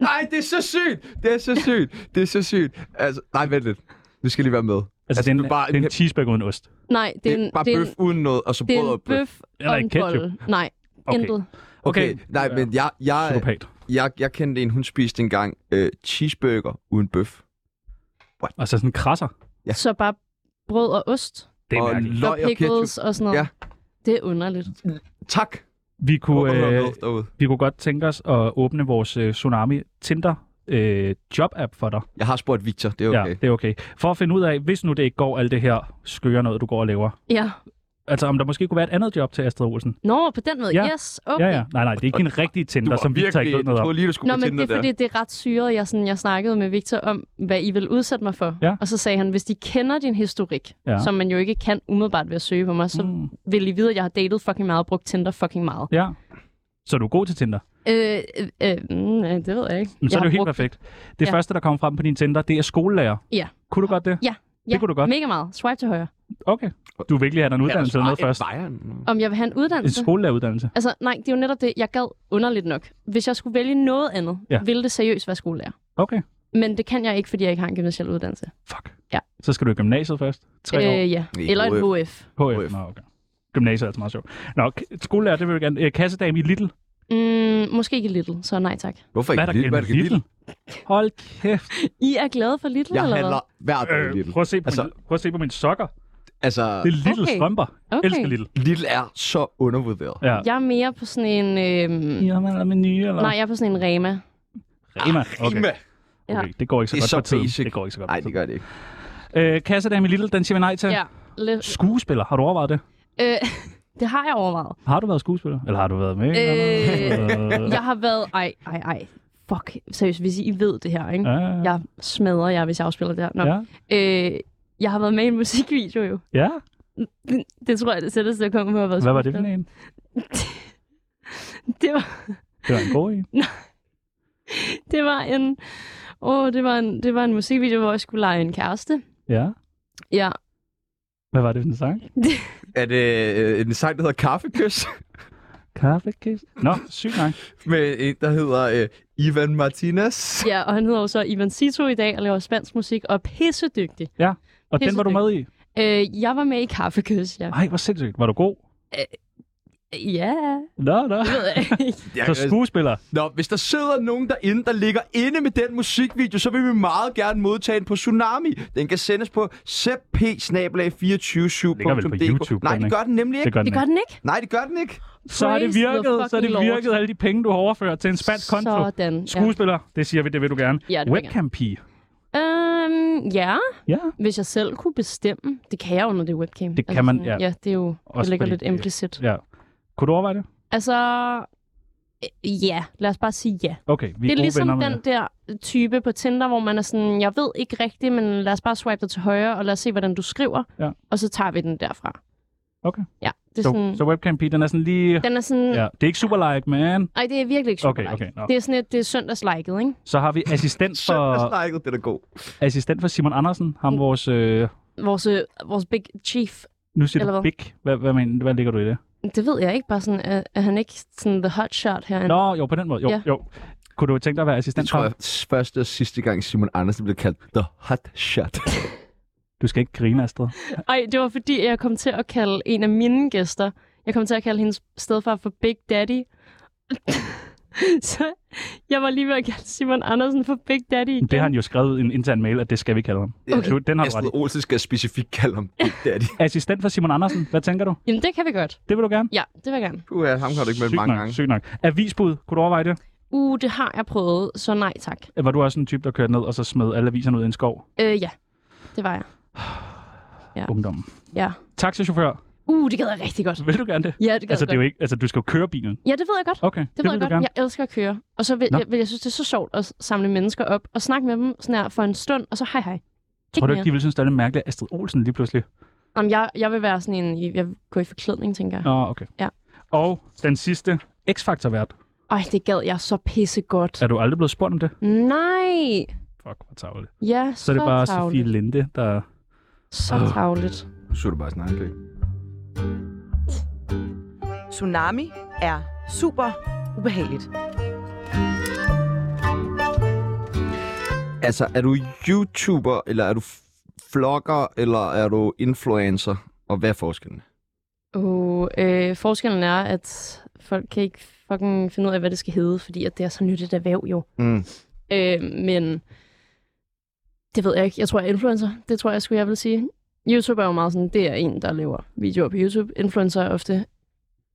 S1: Nej, det er så sygt. Det er så sygt. Det er så sygt. Altså, nej, vent lidt. Vi skal lige være med.
S2: Altså, det er en,
S1: du er bare
S2: det er en
S1: en-
S2: cheeseburger uden ost.
S3: Nej, det er en,
S1: bare
S3: det er
S1: bøf
S3: en,
S1: uden noget, og så
S3: det er
S1: brød
S3: en
S1: og
S3: bøf
S2: Eller
S3: og
S2: en
S3: en
S2: ketchup.
S3: bolle. Nej,
S2: Okay.
S3: okay. intet.
S1: Okay,
S2: Okay.
S1: nej, men jeg, jeg, jeg,
S2: Psykopat.
S1: jeg, jeg kendte en, hun spiste engang øh, cheeseburger uden bøf.
S2: Og så Altså, sådan en krasser.
S1: Ja.
S3: Så bare brød og ost
S2: Det er
S1: og
S2: mærkeligt.
S1: løg
S3: og
S1: og ketchup.
S3: pickles og, sådan noget.
S1: Ja.
S3: Det er underligt.
S1: Tak.
S2: Vi kunne,
S1: Øh,
S2: øh, vi kunne godt tænke os at åbne vores øh, Tsunami Tinder øh, job-app for dig.
S1: jeg har spurgt Victor, det er
S2: Ja,
S1: okay.
S2: det er okay. For at finde ud af, hvis nu det ikke går alt det her skøre noget, du går og laver.
S3: Ja.
S2: Altså, om der måske kunne være et andet job til Astrid Olsen.
S3: Nå, på den måde.
S2: Ja.
S3: Ja. Yes, okay.
S2: Ja, ja. Nej, nej, det er ikke en rigtig
S1: Du
S2: Tinder,
S1: var
S2: som vi tager ikke ved
S1: virkelig,
S2: noget
S1: jeg
S2: om.
S1: troede lige, du skulle
S3: Nå,
S1: på
S3: men
S1: Tinder
S3: det er
S1: der.
S3: fordi, det er ret syret. Jeg, sådan, jeg snakkede med Victor om, hvad I vil udsætte mig for.
S2: Ja.
S3: Og så sagde han, hvis de kender din historik,
S2: Ja.
S3: ja. som man jo ikke kan umiddelbart ved at søge på mig, så
S2: Mm.
S3: mm. vil I vide, at jeg har datet fucking meget og brugt Tinder fucking meget.
S2: Ja. Så du er god til Tinder.
S3: Øh, øh, øh, mm, øh, det ved jeg ikke.
S2: Men så
S3: jeg
S2: er det jo
S3: har
S2: helt
S3: brugt-
S2: perfekt. Det
S3: Ja.
S2: første, der kommer frem på din Tinder, det er skolelærer.
S3: Ja.
S2: Kunne du godt det?
S3: Ja,
S2: kunne du godt.
S3: mega meget. Swipe til højre.
S2: Okay. Du vil ikke lige have dig en
S1: Ja, der
S2: uddannelse eller noget
S1: svarer
S2: først.
S1: en vejeren.
S3: Om jeg vil have en
S2: En
S3: uddannelse?
S2: skolelæreruddannelse.
S3: Altså, nej, det er jo netop det, jeg gad underligt nok. Hvis jeg skulle vælge noget andet,
S2: Ja.
S3: ja. ville det seriøst være skolelærer.
S2: Okay.
S3: Men det kan jeg ikke, fordi jeg ikke har en gymnasial uddannelse.
S2: Fuck.
S3: Ja.
S2: Så skal du i gymnasiet først. Tre øh,
S3: ja.
S1: I
S3: Eller et
S1: HF.
S3: HF.
S2: år. HF.
S1: HF.
S2: Nå, okay. Gymnasiet er altså meget sjovt. Nå, k- skolelærer, det vil jeg gerne. Øh, kassedame i Little.
S3: Mm, måske ikke Little, så nej tak.
S1: Hvorfor
S2: Hvad
S1: ikke
S2: er der
S1: Lidl?
S2: galt
S1: Hvad
S2: med
S1: er det Lidl?
S2: Little? Hold kæft.
S3: I er glade for Little,
S1: Jeg
S3: eller
S1: handler hver dag
S2: Øh,
S1: Lidl.
S2: prøv, at se på altså,
S1: Altså-
S2: min, prøv at se på mine sokker.
S1: Altså,
S2: Det er Little okay.
S3: Okay.
S2: strømper.
S3: hvad?
S2: Okay. Elsker Little.
S1: Lidl er så undervurderet.
S2: Ja.
S3: Jeg er mere på sådan en... Øh...
S2: Ja, man er med nye, eller?
S3: Nej, jeg er på sådan en Rema.
S2: Rema. Okay.
S1: Rima.
S2: okay. Det går ikke så
S1: Ah, Det er
S2: godt
S1: så
S2: for tiden.
S1: basic.
S2: Det går ikke så godt
S1: Nej,
S2: for
S1: det gør det ikke.
S2: tiden. Øh, kassedame i Little, den siger vi nej til.
S3: Ja. Lidt.
S2: Skuespiller, har du overvejet det?
S3: Øh, det har jeg overvejet.
S2: Har du været skuespiller? Eller har du været
S1: Øh,
S2: med? i noget? Øh,
S3: Jeg har været... Ej, ej, ej. Fuck, seriøst, hvis I ved det her, ikke?
S2: ja, ja.
S3: Jeg smadrer jer, hvis jeg afspiller det her. Nå.
S2: Ja.
S3: Øh, Jeg har været med i en musikvideo jo.
S2: Ja,
S3: Det tror jeg, det sætter sig komme på at være
S2: hvad var det for
S3: skuespiller.
S2: en?
S3: det var,
S2: Det var en god en.
S3: det var en... Åh, det var en, det var en musikvideo, hvor jeg skulle lege en kæreste.
S2: Ja.
S3: Ja,
S2: Hvad var det for en sang?
S1: Er det øh, en sang, der hedder Kaffekys?
S2: Kaffekæs. Nå, sygt nok.
S1: med en, der hedder øh, Ivan Martinez?
S3: ja og han hedder jo så Ivan Sito i dag og laver spansk musik og er pissedygtig.
S2: Og den var du med i?
S3: Øh, jeg var med i Kaffekys, ja.
S2: Ej, hvor sindssygt. Var du god?
S3: Ja,
S2: Nå, nå.
S3: det ved jeg ikke.
S1: Ja,
S2: Så
S1: øh,
S2: skuespiller.
S1: Nå, hvis der sidder nogen derinde, der ligger inde med den musikvideo, så vil vi meget gerne modtage den på Tsunami. Den kan sendes på cp 247dk
S2: Ligger vel på YouTube,
S1: Nej,
S2: den,
S1: det
S2: ikke?
S1: gør den nemlig ikke.
S2: Det gør den
S3: Det gør
S2: ikke.
S3: den ikke.
S1: Nej, det gør den ikke.
S2: Så er det
S3: Praise the
S2: virket. Så er det
S3: fucking
S2: virket alle de penge, du har overført til en spansk konto.
S3: Sådan, ja.
S2: Skuespiller, det siger vi, det vil du gerne.
S3: Ja, det vil jeg
S2: Webcam-pige.
S3: Øhm, ja,
S2: Ja,
S3: hvis jeg selv kunne bestemme. Det kan jeg jo, når det er webcam.
S2: Det kan man,
S3: sådan,
S2: ja.
S3: Ja, det er jo
S2: Også
S3: det ligger
S2: fordi
S3: lidt
S2: det-
S3: implicit.
S2: ja. Kunne du overveje det?
S3: Altså, øh, ja, lad os bare sige ja.
S2: Okay, vi
S3: det
S2: er,
S3: er
S2: gode
S3: ligesom
S2: venner med
S3: den der type på Tinder, hvor man er sådan, jeg ved ikke rigtigt, men lad os bare swipe dig til højre, og lad os se, hvordan du skriver,
S2: Ja.
S3: og så tager vi den derfra.
S2: Okay.
S3: Ja, det
S2: Så,
S3: er sådan,
S2: så webcam-pige, den er sådan lige...
S3: den er sådan,
S2: Ja, det er ikke super like, man.
S3: ej, det er virkelig ikke
S2: Okay,
S3: super
S2: okay, nå.
S3: Det er sådan et, det er søndagsliket, ikke?
S2: Så har vi assistent
S1: Så...
S2: for,
S1: Søndagsnakket, det er da god.
S2: assistent for Simon Andersen,
S3: Mm.
S2: ham vores, øh,
S3: Vores, øh, vores big chief.
S2: nu siger
S3: Eller
S2: du
S3: hvad?
S2: big, hvad, hvad, mener, hvad ligger du i det?
S3: Det ved jeg ikke, bare sådan, er, er han ikke sådan the hot shot herinde?
S2: Nå, jo, på den måde, jo,
S3: Ja.
S2: jo. Kunne du tænke dig at være assistent
S1: Det tror
S2: for
S1: jeg
S2: ham?
S1: første og sidste gang, Simon Andersen blev kaldt The Hot Shot.
S2: Du skal ikke grine, Astrid.
S3: Ej, det var fordi, jeg kom til at kalde en af mine gæster, jeg kom til at kalde hendes stedfar for Big Daddy. så jeg var lige ved at kalde Simon Andersen for Big Daddy igen.
S2: Det har han jo skrevet i en intern mail, at det skal vi kalde ham.
S1: Okay.
S2: Du, den har du ret
S1: Astrid
S2: i.
S1: Olsen skal specifikt kalde ham Big Daddy.
S2: Assistent for Simon Andersen, hvad tænker du?
S3: Jamen, det kan vi godt.
S2: Det vil du gerne?
S3: Ja, det vil jeg gerne.
S1: Puh, ham har du ikke mødt
S2: Sygt
S1: mange
S2: nok,
S1: gange.
S2: Sygt nok. Avisbud, kunne du overveje det?
S3: Uh, det har jeg prøvet, så nej tak.
S2: Var du også en type, der kørte ned og så smed alle aviserne ud i en skov?
S3: Øh, ja, det var jeg. Ja.
S2: Ungdommen.
S3: Ja.
S2: Taxichauffør,
S3: Uh, det gad jeg rigtig godt.
S2: vil du gerne det?
S3: Ja, det gad
S2: Altså,
S3: jeg
S2: det er jo
S3: godt.
S2: ikke, altså, du skal jo køre bilen.
S3: Ja, det ved jeg godt.
S2: Okay, det, vil
S3: Det, ved jeg
S2: du
S3: godt.
S2: gerne.
S3: Jeg elsker at køre. Og så vil
S2: Nå.
S3: jeg, vil jeg synes, det er så sjovt at samle mennesker op og snakke med dem sådan her for en stund, og så hej hej.
S2: Tror du ikke,
S3: mere.
S2: de ville synes, det er lidt mærkeligt, at Astrid Olsen lige pludselig...
S3: Jamen, jeg, jeg vil være sådan en... Jeg går i forklædning, tænker jeg.
S2: Nå, okay.
S3: Ja.
S2: Og den sidste, X-Factor-vært.
S3: Ej, det gad jeg så pisse godt.
S2: Er du aldrig blevet spurgt om det?
S3: Nej!
S2: Fuck, hvor tavligt.
S3: Ja, så,
S2: Så er det bare Sofie
S3: tavligt.
S2: Linde, der...
S3: Så tavligt.
S1: Så er du bare snakke.
S5: Tsunami er super ubehageligt.
S1: Altså, er du YouTuber, eller er du vlogger, eller er du influencer? Og hvad er forskellen?
S3: Uh, øh, forskellen er, at folk kan ikke fucking finde ud af, hvad det skal hedde, fordi at det er så nyt et erhverv jo.
S1: Mm.
S3: Øh, men det ved jeg ikke. Jeg tror, jeg er influencer. Det tror jeg, skulle jeg vil sige. YouTube er jo meget sådan, det er en, der laver videoer på YouTube. Influencer er ofte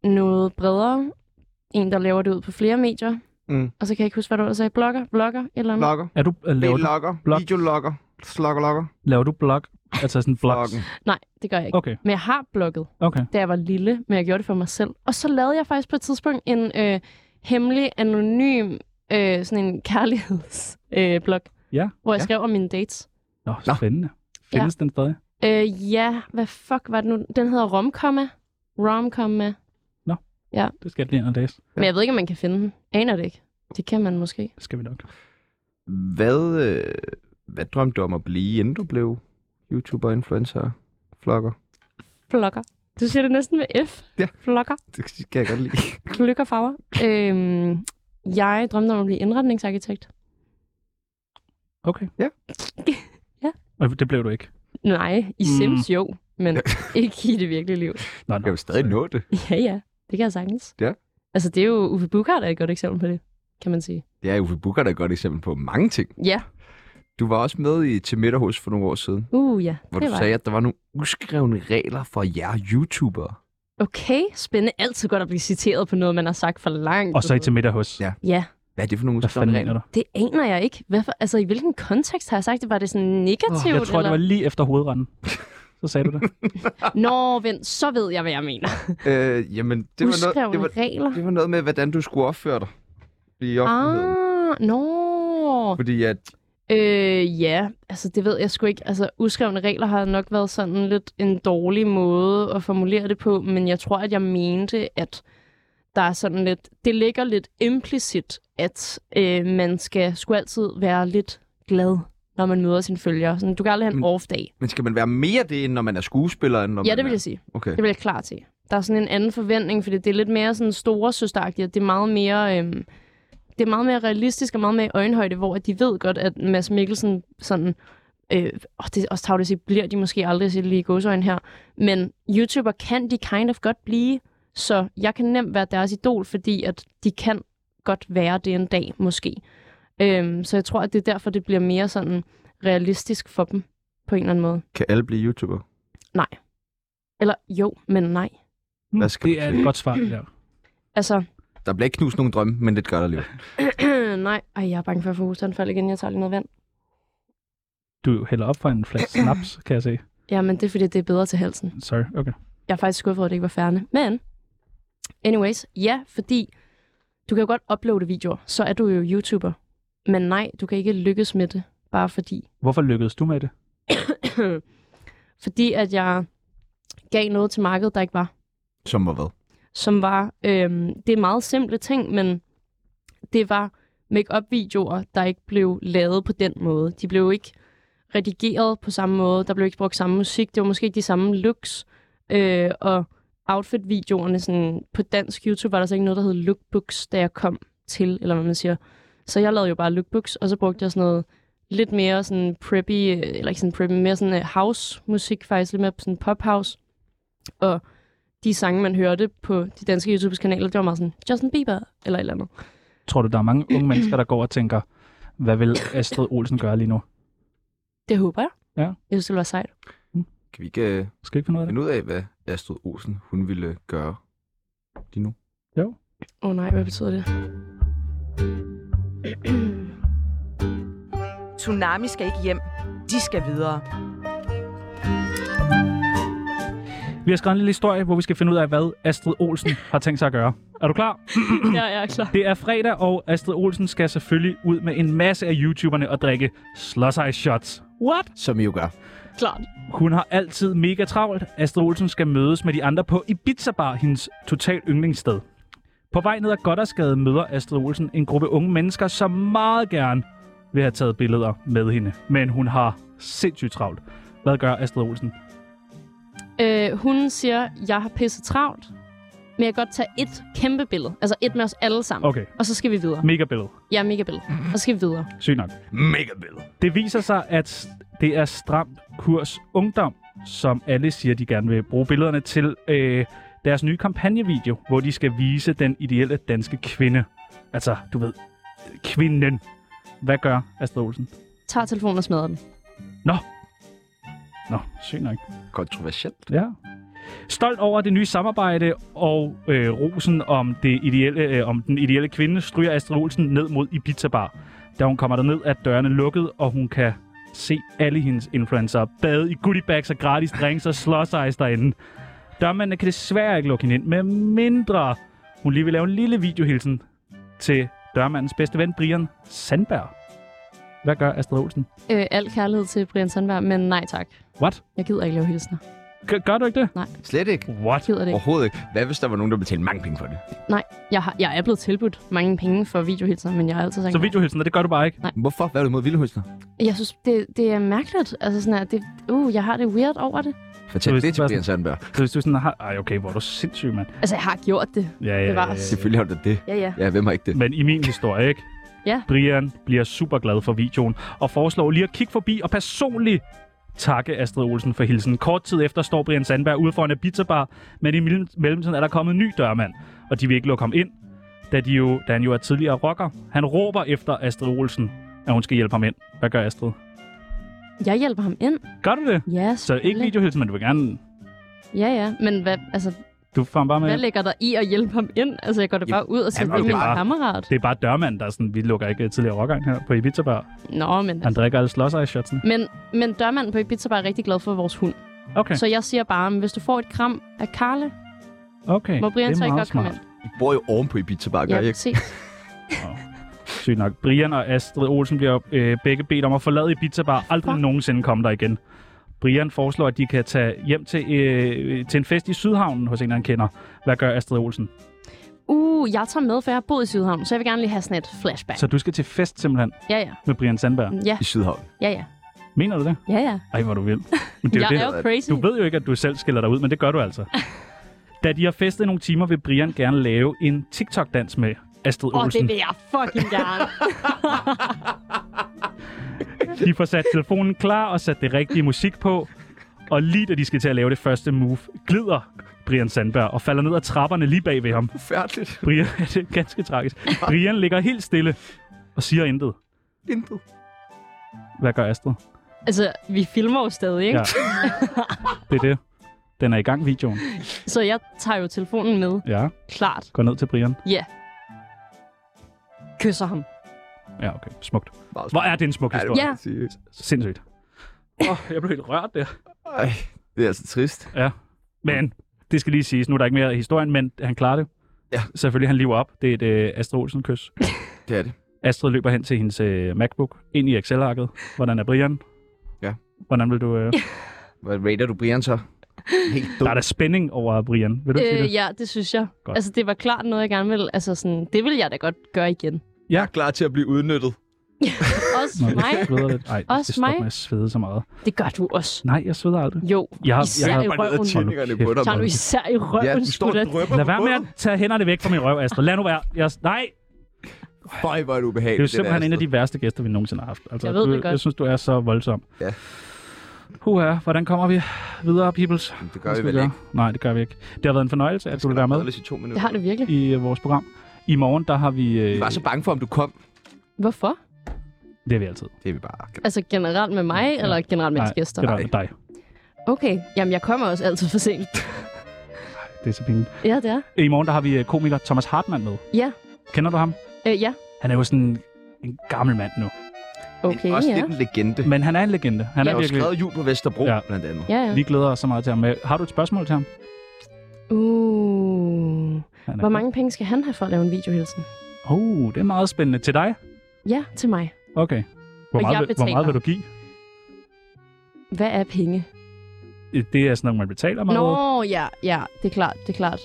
S3: noget bredere. En, der laver det ud på flere medier.
S1: Mm.
S3: Og så kan jeg ikke huske, hvad du ellers sagde. Blogger? Blogger? Et eller andet?
S1: Vlogger?
S2: Er du, øh, laver, du,
S1: Vlogger?
S2: blog?
S1: Videologger? Sloggerlogger?
S2: laver du blog? Altså sådan blogs?
S1: Vloggen.
S3: Nej, det gør jeg ikke.
S2: Okay,
S3: Men jeg har blogget,
S2: okay.
S3: da jeg var lille, men jeg gjorde det for mig selv. Og så lavede jeg faktisk på et tidspunkt en øh, hemmelig, anonym, øh, sådan en kærlighedsblog, øh, blog,
S2: Ja,
S3: hvor jeg
S1: ja.
S3: skrev om mine dates.
S2: Nå,
S1: Nå.
S2: spændende. Findes den stadig?
S3: Øh, ja, hvad fuck var det nu? Den hedder Romkomma. Romkomma. Ja.
S2: Det skal jeg lige ind og læse.
S3: Men jeg ved ikke, om man kan finde den. Aner det ikke. Det kan man måske.
S2: Det skal vi nok.
S1: Hvad, øh, hvad drømte du om at blive, inden du blev YouTuber, influencer, vlogger?
S3: Flokker. Du siger det næsten med F.
S1: Ja.
S3: Flokker.
S1: Det kan jeg godt lide.
S3: Lykke og farver. øhm, jeg drømte om at blive indretningsarkitekt.
S2: Okay.
S1: Ja.
S3: Ja.
S2: Og det blev du ikke.
S3: Nej, i
S2: Mm.
S3: Sims jo, men ikke i det virkelige liv.
S2: Nå,
S1: Jeg
S2: nå.
S1: vil stadig nå det.
S3: Ja, ja. Det kan jeg sagtens.
S1: Ja.
S3: Altså, det er jo Uffe Bukart er et godt eksempel på det, kan man sige.
S1: Det er Uffe Bukker, der er et godt eksempel på mange ting.
S3: Ja.
S1: Du var også med i Til Midterhus for nogle år siden,
S3: Uh, ja.
S1: hvor
S3: det
S1: du
S3: var
S1: sagde,
S3: det.
S1: at der var nogle uskrevne regler for jer YouTubere.
S3: Okay, spændende. Altid godt at blive citeret på noget, man har sagt for langt.
S2: Og så i til middag hos.
S1: Ja.
S3: Ja,
S1: Hvad er det for nogle
S2: Hvad
S1: uskrevne
S2: fanden mener
S1: regler?
S2: du?
S3: det aner jeg ikke. Hvorfor, altså, i hvilken kontekst har jeg sagt det? Var det sådan negativt?
S2: Jeg tror, det
S3: eller?
S2: var lige efter hovedretten. Så sagde du det.
S3: Nå, vent, så ved jeg, hvad jeg mener.
S1: Øh, jamen, det var, noget, det, var,
S3: regler.
S1: det var noget med, hvordan du skulle opføre dig i offentligheden.
S3: Ah, nå.
S1: Fordi at
S3: Øh, ja, altså det ved jeg sgu ikke. Altså uskrevne regler har nok været sådan lidt en dårlig måde at formulere det på, men jeg tror, at jeg mente, at der er sådan lidt, det ligger lidt implicit, at øh, man skal sgu altid være lidt glad, når man møder sine følgere. Sådan, du kan aldrig have en
S1: Mm.
S3: off-dag.
S1: Men skal man være mere det, end når man er skuespiller? End når
S3: Ja,
S1: man
S3: det vil
S1: er...
S3: jeg sige.
S1: Okay.
S3: Det vil jeg klar til. Der er sådan en anden forventning, fordi det er lidt mere sådan store søsteragtigt, og det er meget mere... Øhm, det er meget mere realistisk og meget mere i øjenhøjde, hvor at de ved godt, at Mads Mikkelsen sådan... Øh, og det er også tavligt at sige, bliver de måske aldrig sit lige godsøjne her. Men YouTuber kan de kind of godt blive, så jeg kan nemt være deres idol, fordi at de kan godt være det en dag, måske. Øhm, så jeg tror, at det er derfor, det bliver mere sådan realistisk for dem, på en eller anden måde.
S1: Kan alle blive YouTuber?
S3: Eller jo, men nej.
S1: Hvad
S2: Hmm,
S1: skal
S2: det
S1: man
S2: er
S1: sige?
S2: et godt svar, det der.
S3: Altså,
S1: Der bliver ikke knust nogen drømme, men det gør der alligevel.
S3: Nej, ej, jeg er bange for at få hostanfald igen. Jeg tager lige noget vand.
S2: Du hælder op for en flaske snaps, kan jeg se.
S3: Ja, men det er fordi, det er bedre til halsen.
S2: Sorry, okay.
S3: Jeg er faktisk skuffet over, at det ikke var færende. Men, anyways, ja, fordi du kan jo godt uploade videoer, så er du jo YouTuber. Men nej, du kan ikke lykkes med det, bare fordi.
S2: Hvorfor lykkedes du med det?
S3: fordi at jeg gav noget til markedet, der ikke var.
S1: Som var hvad?
S3: som var, øhm, det er meget simple ting, men det var make-up-videoer, der ikke blev lavet på den måde. De blev ikke redigeret på samme måde, der blev ikke brugt samme musik, det var måske ikke de samme looks, øh, og outfit-videoerne, sådan, på dansk YouTube var der så ikke noget, der hed lookbooks, da jeg kom til, eller hvad man siger. Så jeg lavede jo bare lookbooks, og så brugte jeg sådan noget lidt mere sådan preppy, øh, eller ikke sådan preppy, mere sådan øh, house-musik faktisk, lidt mere sådan pop-house. Og de sange, man hørte på de danske YouTube-kanaler, det var meget sådan Justin Bieber eller et eller andet.
S2: Tror du, der er mange unge mennesker, der går og tænker, hvad vil Astrid Olsen gøre lige nu?
S3: Det håber jeg.
S2: Ja.
S3: Jeg synes, det var sejt.
S1: Kan vi ikke øh,
S2: Skal vi ikke finde ud af det?
S1: finde ud af, hvad Astrid Olsen hun ville gøre lige nu?
S3: Åh oh, nej, hvad betyder det?
S5: Tsunami skal ikke hjem. De skal videre.
S2: Vi har skrevet en lille historie, hvor vi skal finde ud af, hvad Astrid Olsen har tænkt sig at gøre. Er du klar?
S3: ja, jeg er klar.
S2: Det er fredag, og Astrid Olsen skal selvfølgelig ud med en masse af YouTuberne og drikke slush shots. What?
S1: Som I jo gør.
S3: Klart.
S2: Hun har altid mega travlt. Astrid Olsen skal mødes med de andre på Ibiza Bar, hendes total yndlingssted. På vej ned ad Goddersgade møder Astrid Olsen en gruppe unge mennesker, som meget gerne vil have taget billeder med hende. Men hun har sindssygt travlt. Hvad gør Astrid Olsen?
S3: Øh, hun siger, jeg har pisset travlt, men jeg kan godt tage et kæmpe billede. Altså et med os alle sammen.
S2: Okay, Mm.
S3: Og så skal vi videre.
S2: mega billede.
S3: Ja, mega billede. Og så skal vi videre.
S2: Sygt nok.
S1: Mega billede.
S2: Det viser sig, at det er stram kurs ungdom, som alle siger, de gerne vil bruge billederne til øh, deres nye kampagnevideo, hvor de skal vise den ideelle danske kvinde. Altså, du ved, kvinden. Hvad gør Astrid Olsen?
S3: Tager telefonen og smadrer den.
S2: Nå, sygt nok.
S1: Kontroversielt.
S2: Ja. Stolt over det nye samarbejde og øh, rosen om, det ideelle, øh, om den ideelle kvinde, stryger Astrid Olsen ned mod Ibiza Bar. Da hun kommer derned, er dørene lukket, og hun kan se alle hendes influencer bade i goodiebags og gratis drinks og slåsejs derinde. Dørmændene kan desværre ikke lukke hende ind, med mindre hun lige vil lave en lille videohilsen til dørmandens bedste ven, Brian Sandberg. Hvad gør Astrid Olsen?
S3: Øh, al kærlighed til Brian Sandberg, men nej tak.
S2: What?
S3: Jeg gider ikke lave hilsner.
S2: Gør, gør du ikke det?
S1: Slet ikke.
S2: What?
S3: Jeg gider det ikke.
S1: Overhovedet ikke. Hvad hvis der var nogen, der betalte mange penge for det?
S3: Jeg, har, jeg er blevet tilbudt mange penge for videohilsner, men jeg har altid sagt
S2: Så
S3: nej.
S2: videohilsen, det gør du bare ikke?
S1: Hvorfor? Hvad er du imod vildhøsner?
S3: Jeg synes, det, det er mærkeligt. Altså sådan, at det, uh, jeg har det weird over det.
S1: Fortæl
S2: Så hvis
S1: det
S2: det
S1: til
S2: var
S1: Brian Sandberg.
S2: Så hvis du sådan har... Ej, okay, hvor er du sindssyg, mand.
S3: Altså, jeg har gjort det.
S2: Ja, ja,
S3: Bevares.
S1: Selvfølgelig har du det.
S3: Ja, ja.
S1: Ja, hvem har ikke det?
S2: Men i min historie, ikke?
S3: Ja.
S2: Brian bliver super glad for videoen og foreslår lige at kigge forbi og personligt takke Astrid Olsen for hilsen. Kort tid efter står Brian Sandberg ude foran en pizzabar, men i mellem- mellemtiden er der kommet en ny dørmand, og de vil ikke lukke ham ind, da, de jo, da han jo er tidligere rocker. Han råber efter Astrid Olsen, at hun skal hjælpe ham ind. Hvad gør Astrid?
S3: Jeg hjælper ham ind.
S2: Gør du det?
S3: Ja,
S2: Så ikke
S3: selvfølgelig.
S2: videohilsen, men du vil gerne...
S3: Ja, ja. Men hvad, altså,
S2: Du får ham bare med.
S3: hvad
S2: ind.
S3: ligger der i at hjælpe ham ind? Altså, jeg går da
S1: Jamen,
S3: bare ud og siger,
S2: jamen,
S3: det er
S2: det
S3: min
S2: er bare-
S3: kammerat.
S2: Det er bare dørmanden, der er sådan, vi lukker ikke øh, tidligere rocker ind her på Ibiza Bar.
S3: Nå, men...
S2: Han drikker alle slåsser i shotsene.
S3: Men, men dørmanden på Ibiza var rigtig glad for vores hund.
S2: Okay,
S3: Så jeg siger bare, at hvis du får et kram af Karle,
S2: okay.
S3: må Brian
S2: Det er
S3: så ikke
S2: meget
S3: godt komme
S2: smart.
S3: ind.
S1: I bor jo oven på Ibiza Bar, gør
S3: Ja,
S1: I ikke?
S3: præcis.
S2: Sygt nok. Brian og Astrid Olsen bliver øh, begge bedt om at forlade Ibiza Bar. Aldrig
S3: Fuck.
S2: nogensinde komme der igen. Brian foreslår, at de kan tage hjem til, øh, til en fest i Sydhavnen hos en, han kender. Hvad gør Astrid Olsen?
S3: Uh, jeg tager med, for jeg har boet i Sydhavn, så jeg vil gerne lige have sådan et flashback.
S2: Så du skal til fest simpelthen
S3: Ja, ja.
S2: med Brian Sandberg.
S3: Ja,
S1: i Sydhavn.
S3: ja, ja.
S2: Mener du det?
S3: Ja, ja.
S2: Ej, hvor du vil. Men det er
S3: Jeg
S2: jo det.
S3: er jo crazy.
S2: Du ved jo ikke, at du selv skiller dig ud, men det gør du altså. Da de har festet nogle timer, vil Brian gerne lave en TikTok-dans med Astrid
S3: Åh, oh,
S2: Olsen.
S3: det vil jeg fucking gerne.
S2: De får sat telefonen klar og sat det rigtige musik på. Og lige da de skal til at lave det første move, glider Brian Sandberg og falder ned ad trapperne lige bag ved ham.
S1: Forfærdeligt.
S2: Brian, det er ganske tragisk. Brian ligger helt stille og siger intet.
S1: Intet.
S2: Hvad gør Astrid?
S3: altså, vi filmer jo stadig, ikke?
S2: Ja. Det er det. Den er i gang, videoen.
S3: Så jeg tager jo telefonen med,
S2: Ja,
S3: klart.
S2: går ned til Brian.
S3: Kysser ham.
S2: Ja, okay. Smukt.
S1: Meget
S2: Hvor er det en smuk
S1: Ja, det
S2: historie.
S1: må
S3: Ja.
S1: jeg sige.
S2: Sindssygt. Oh, jeg blev helt rørt der.
S1: Ej, det er altså trist.
S2: Ja. Men det skal lige siges, nu er der ikke mere i historien, men han klarer det.
S1: Ja.
S2: Selvfølgelig, han lever op. Det er et øh, Astrid Olsen-kys.
S1: Det er det.
S2: Astrid løber hen til hendes øh, MacBook, ind i Excel-arket. Hvordan er Brian?
S1: Ja.
S2: Hvordan vil du... Øh...
S1: Hvad rater du Brian så? Helt dum.
S2: Der er da spænding over Brian. Vil du øh, sige det?
S3: Øh, ja, det synes jeg.
S2: Godt.
S3: Godt. Altså, det var klart noget, jeg gerne ville. Altså, sådan, det vil jeg da godt gøre igen.
S1: Jeg er klar til at blive udnyttet.
S3: Også mig.
S2: jeg sveder lidt. Ej,
S3: Også
S2: det stopper
S3: mig?
S2: med at svede så meget.
S3: Det gør du også.
S2: Nej, jeg sveder aldrig.
S3: Jo,
S2: Jeg har-
S3: især
S2: jeg har
S3: i
S1: Bare ned ad
S3: røven.
S1: tindingerne
S2: Hold
S1: på
S2: nu
S1: dig,
S3: Tager du
S1: mand.
S3: især i røven,
S1: Ja, du står og
S3: sgu da.
S1: drøber
S2: Lad
S1: på
S2: være med at
S1: gulvet.
S2: tage hænderne væk fra min røv, Astrid. Lad nu være. Jeg... Nej,
S1: Føj, hvor er altså det
S2: det er jo
S1: ubehageligt.
S2: simpelthen
S1: der,
S2: en af de værste gæster, vi nogensinde har haft. Altså,
S3: Jeg ved
S2: du,
S3: det godt.
S2: Jeg synes, du er så voldsom.
S1: Ja.
S2: Huha, hvordan kommer vi videre, peoples?
S1: Astrid. Det gør
S2: Hvad
S1: vi
S2: skal
S1: vel
S2: gøre?
S1: ikke.
S2: Nej, det gør vi ikke. Det har været en fornøjelse, at du vil være med
S1: i to minutter.
S3: Det har det virkelig.
S2: i øh, vores program. I morgen, der har vi... Øh,
S1: Vi var så bange for, om du kom.
S3: Hvorfor?
S2: det er vi altid.
S1: Det er vi bare.
S3: Altså generelt med mig,
S2: Ja.
S3: ja. eller generelt med
S2: Nej,
S3: hans gæster?
S2: Det er der med dig.
S3: Okay, jamen jeg kommer også altid for sent.
S2: Det er så pinligt.
S3: Ja, det er.
S2: I morgen, der har vi øh, komiker Thomas Hartmann med.
S3: Ja.
S2: Kender du ham?
S3: Øh, ja,
S2: Han er jo sådan en gammel mand nu.
S3: okay,
S1: Også
S3: ja.
S1: lidt en legende.
S2: Men han er en legende. Han
S1: Han
S2: er
S1: har jo
S2: virkelig...
S1: skrevet jul på Vesterbro,
S2: Ja.
S1: blandt andet.
S3: Ja, ja.
S2: Vi glæder os så meget til ham. Øh, Har du et spørgsmål til ham?
S3: Uh.
S2: Han er
S3: Hvor mange penge skal han have for at lave en videohilsen?
S2: Oh, det er meget spændende. Til dig?
S3: Ja, til mig.
S2: Okay. Hvor
S3: Og
S2: meget,
S3: jeg
S2: vil, hvor meget
S3: betaler.
S2: vil du give?
S3: Hvad er penge?
S2: Øh, Det er sådan noget, man betaler meget.
S3: Nå, ja, ja, det er klart, det er klart.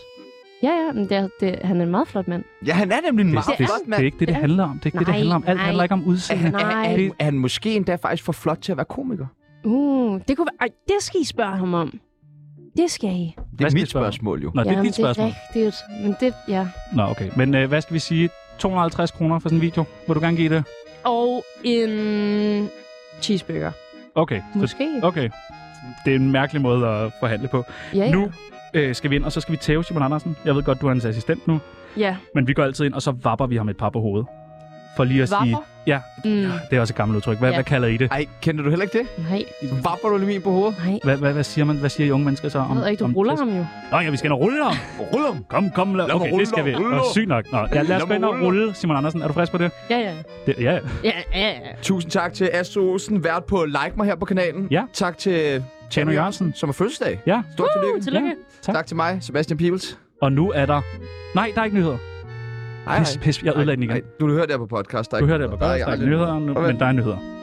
S3: Ja, ja, men det er, det, han er en meget flot mand.
S1: Ja, han er nemlig en
S2: Det,
S1: meget
S2: det,
S1: flot
S2: det er
S1: mand.
S2: ikke det, det
S3: Ja.
S2: handler om. Det er ikke det, det
S3: Nej,
S2: handler om. Alt
S3: nej.
S2: handler ikke om udseende.
S1: Er, er,
S3: Nej.
S1: er, er han måske endda faktisk for flot til at være komiker?
S3: Uh, det kunne være... Ej, det skal I spørge ham om. Det skal I.
S1: Det
S2: Hvad
S1: er
S2: skal
S1: mit
S2: jeg spørge om?
S1: spørgsmål, jo.
S2: Nå, det er
S3: Jamen,
S2: dit spørgsmål.
S3: Det er rigtigt. Men det, ja.
S2: Nå, okay. Men øh, hvad skal vi sige? 250 kroner for sådan en video. Vil du gerne give det?
S3: Og en cheeseburger.
S2: Okay. Så,
S3: Måske.
S2: okay. Det er en mærkelig måde at forhandle på.
S3: Ja, ja.
S2: Nu øh, skal vi ind, og så skal vi tæve Simon Andersen. Jeg ved godt, du er hans assistent nu,
S3: Ja.
S2: men vi går altid ind, og så vapper vi ham et par på hovedet. For lige at sige...
S3: Vapper?
S2: Ja,
S3: Mm.
S2: det er også et gammelt udtryk. Hvad, ja.
S3: Ja.
S2: hvad kalder I det?
S1: Ej, kender du heller ikke det?
S3: Nej,
S1: Vapper du lige på hovedet?
S3: nej.
S2: Hvad, hvad, hvad, siger man? Hvad siger I unge mennesker så
S3: Jeg
S2: om...
S3: ved ikke, du
S2: om
S3: ruller
S2: test?
S3: ham jo.
S2: Nå ja, vi skal ind og rulle ham.
S1: Rullum!
S2: Kom, kom. Lad,
S1: Lad mig
S2: okay,
S1: rulle
S2: det skal
S1: dig,
S2: vi.
S1: rulle
S2: Nå,
S1: dig.
S2: sygt nok. Nå, ja, lad
S1: Lad
S2: os gå
S1: mig
S2: ind og
S1: rulle dig.
S2: rulle, Simon Andersen. Er du frisk på det?
S3: Ja, ja.
S2: det ja,
S3: Ja, ja, ja.
S1: Tusind tak til Astro Olsen, vært på Like mig her på kanalen.
S2: Ja.
S1: Tak til
S2: Tjerno Jørgensen.
S1: som er fødselsdag.
S2: Ja.
S1: Stort tillykke.
S3: Tillykke.
S2: tak.
S1: Tak til mig, Sebastian Pibels.
S2: Og nu er der... Nej, der er ikke nyheder.
S1: Hej,
S2: Pis, pis, jeg ødelagde den igen.
S1: Nej, du hører det her på podcast. Der er
S2: Du
S1: ikke
S2: hører det på
S1: noget.
S2: godt. Der er
S1: aldrig
S2: ikke nyheder nu,
S1: Og hvad-
S2: men der er nyheder.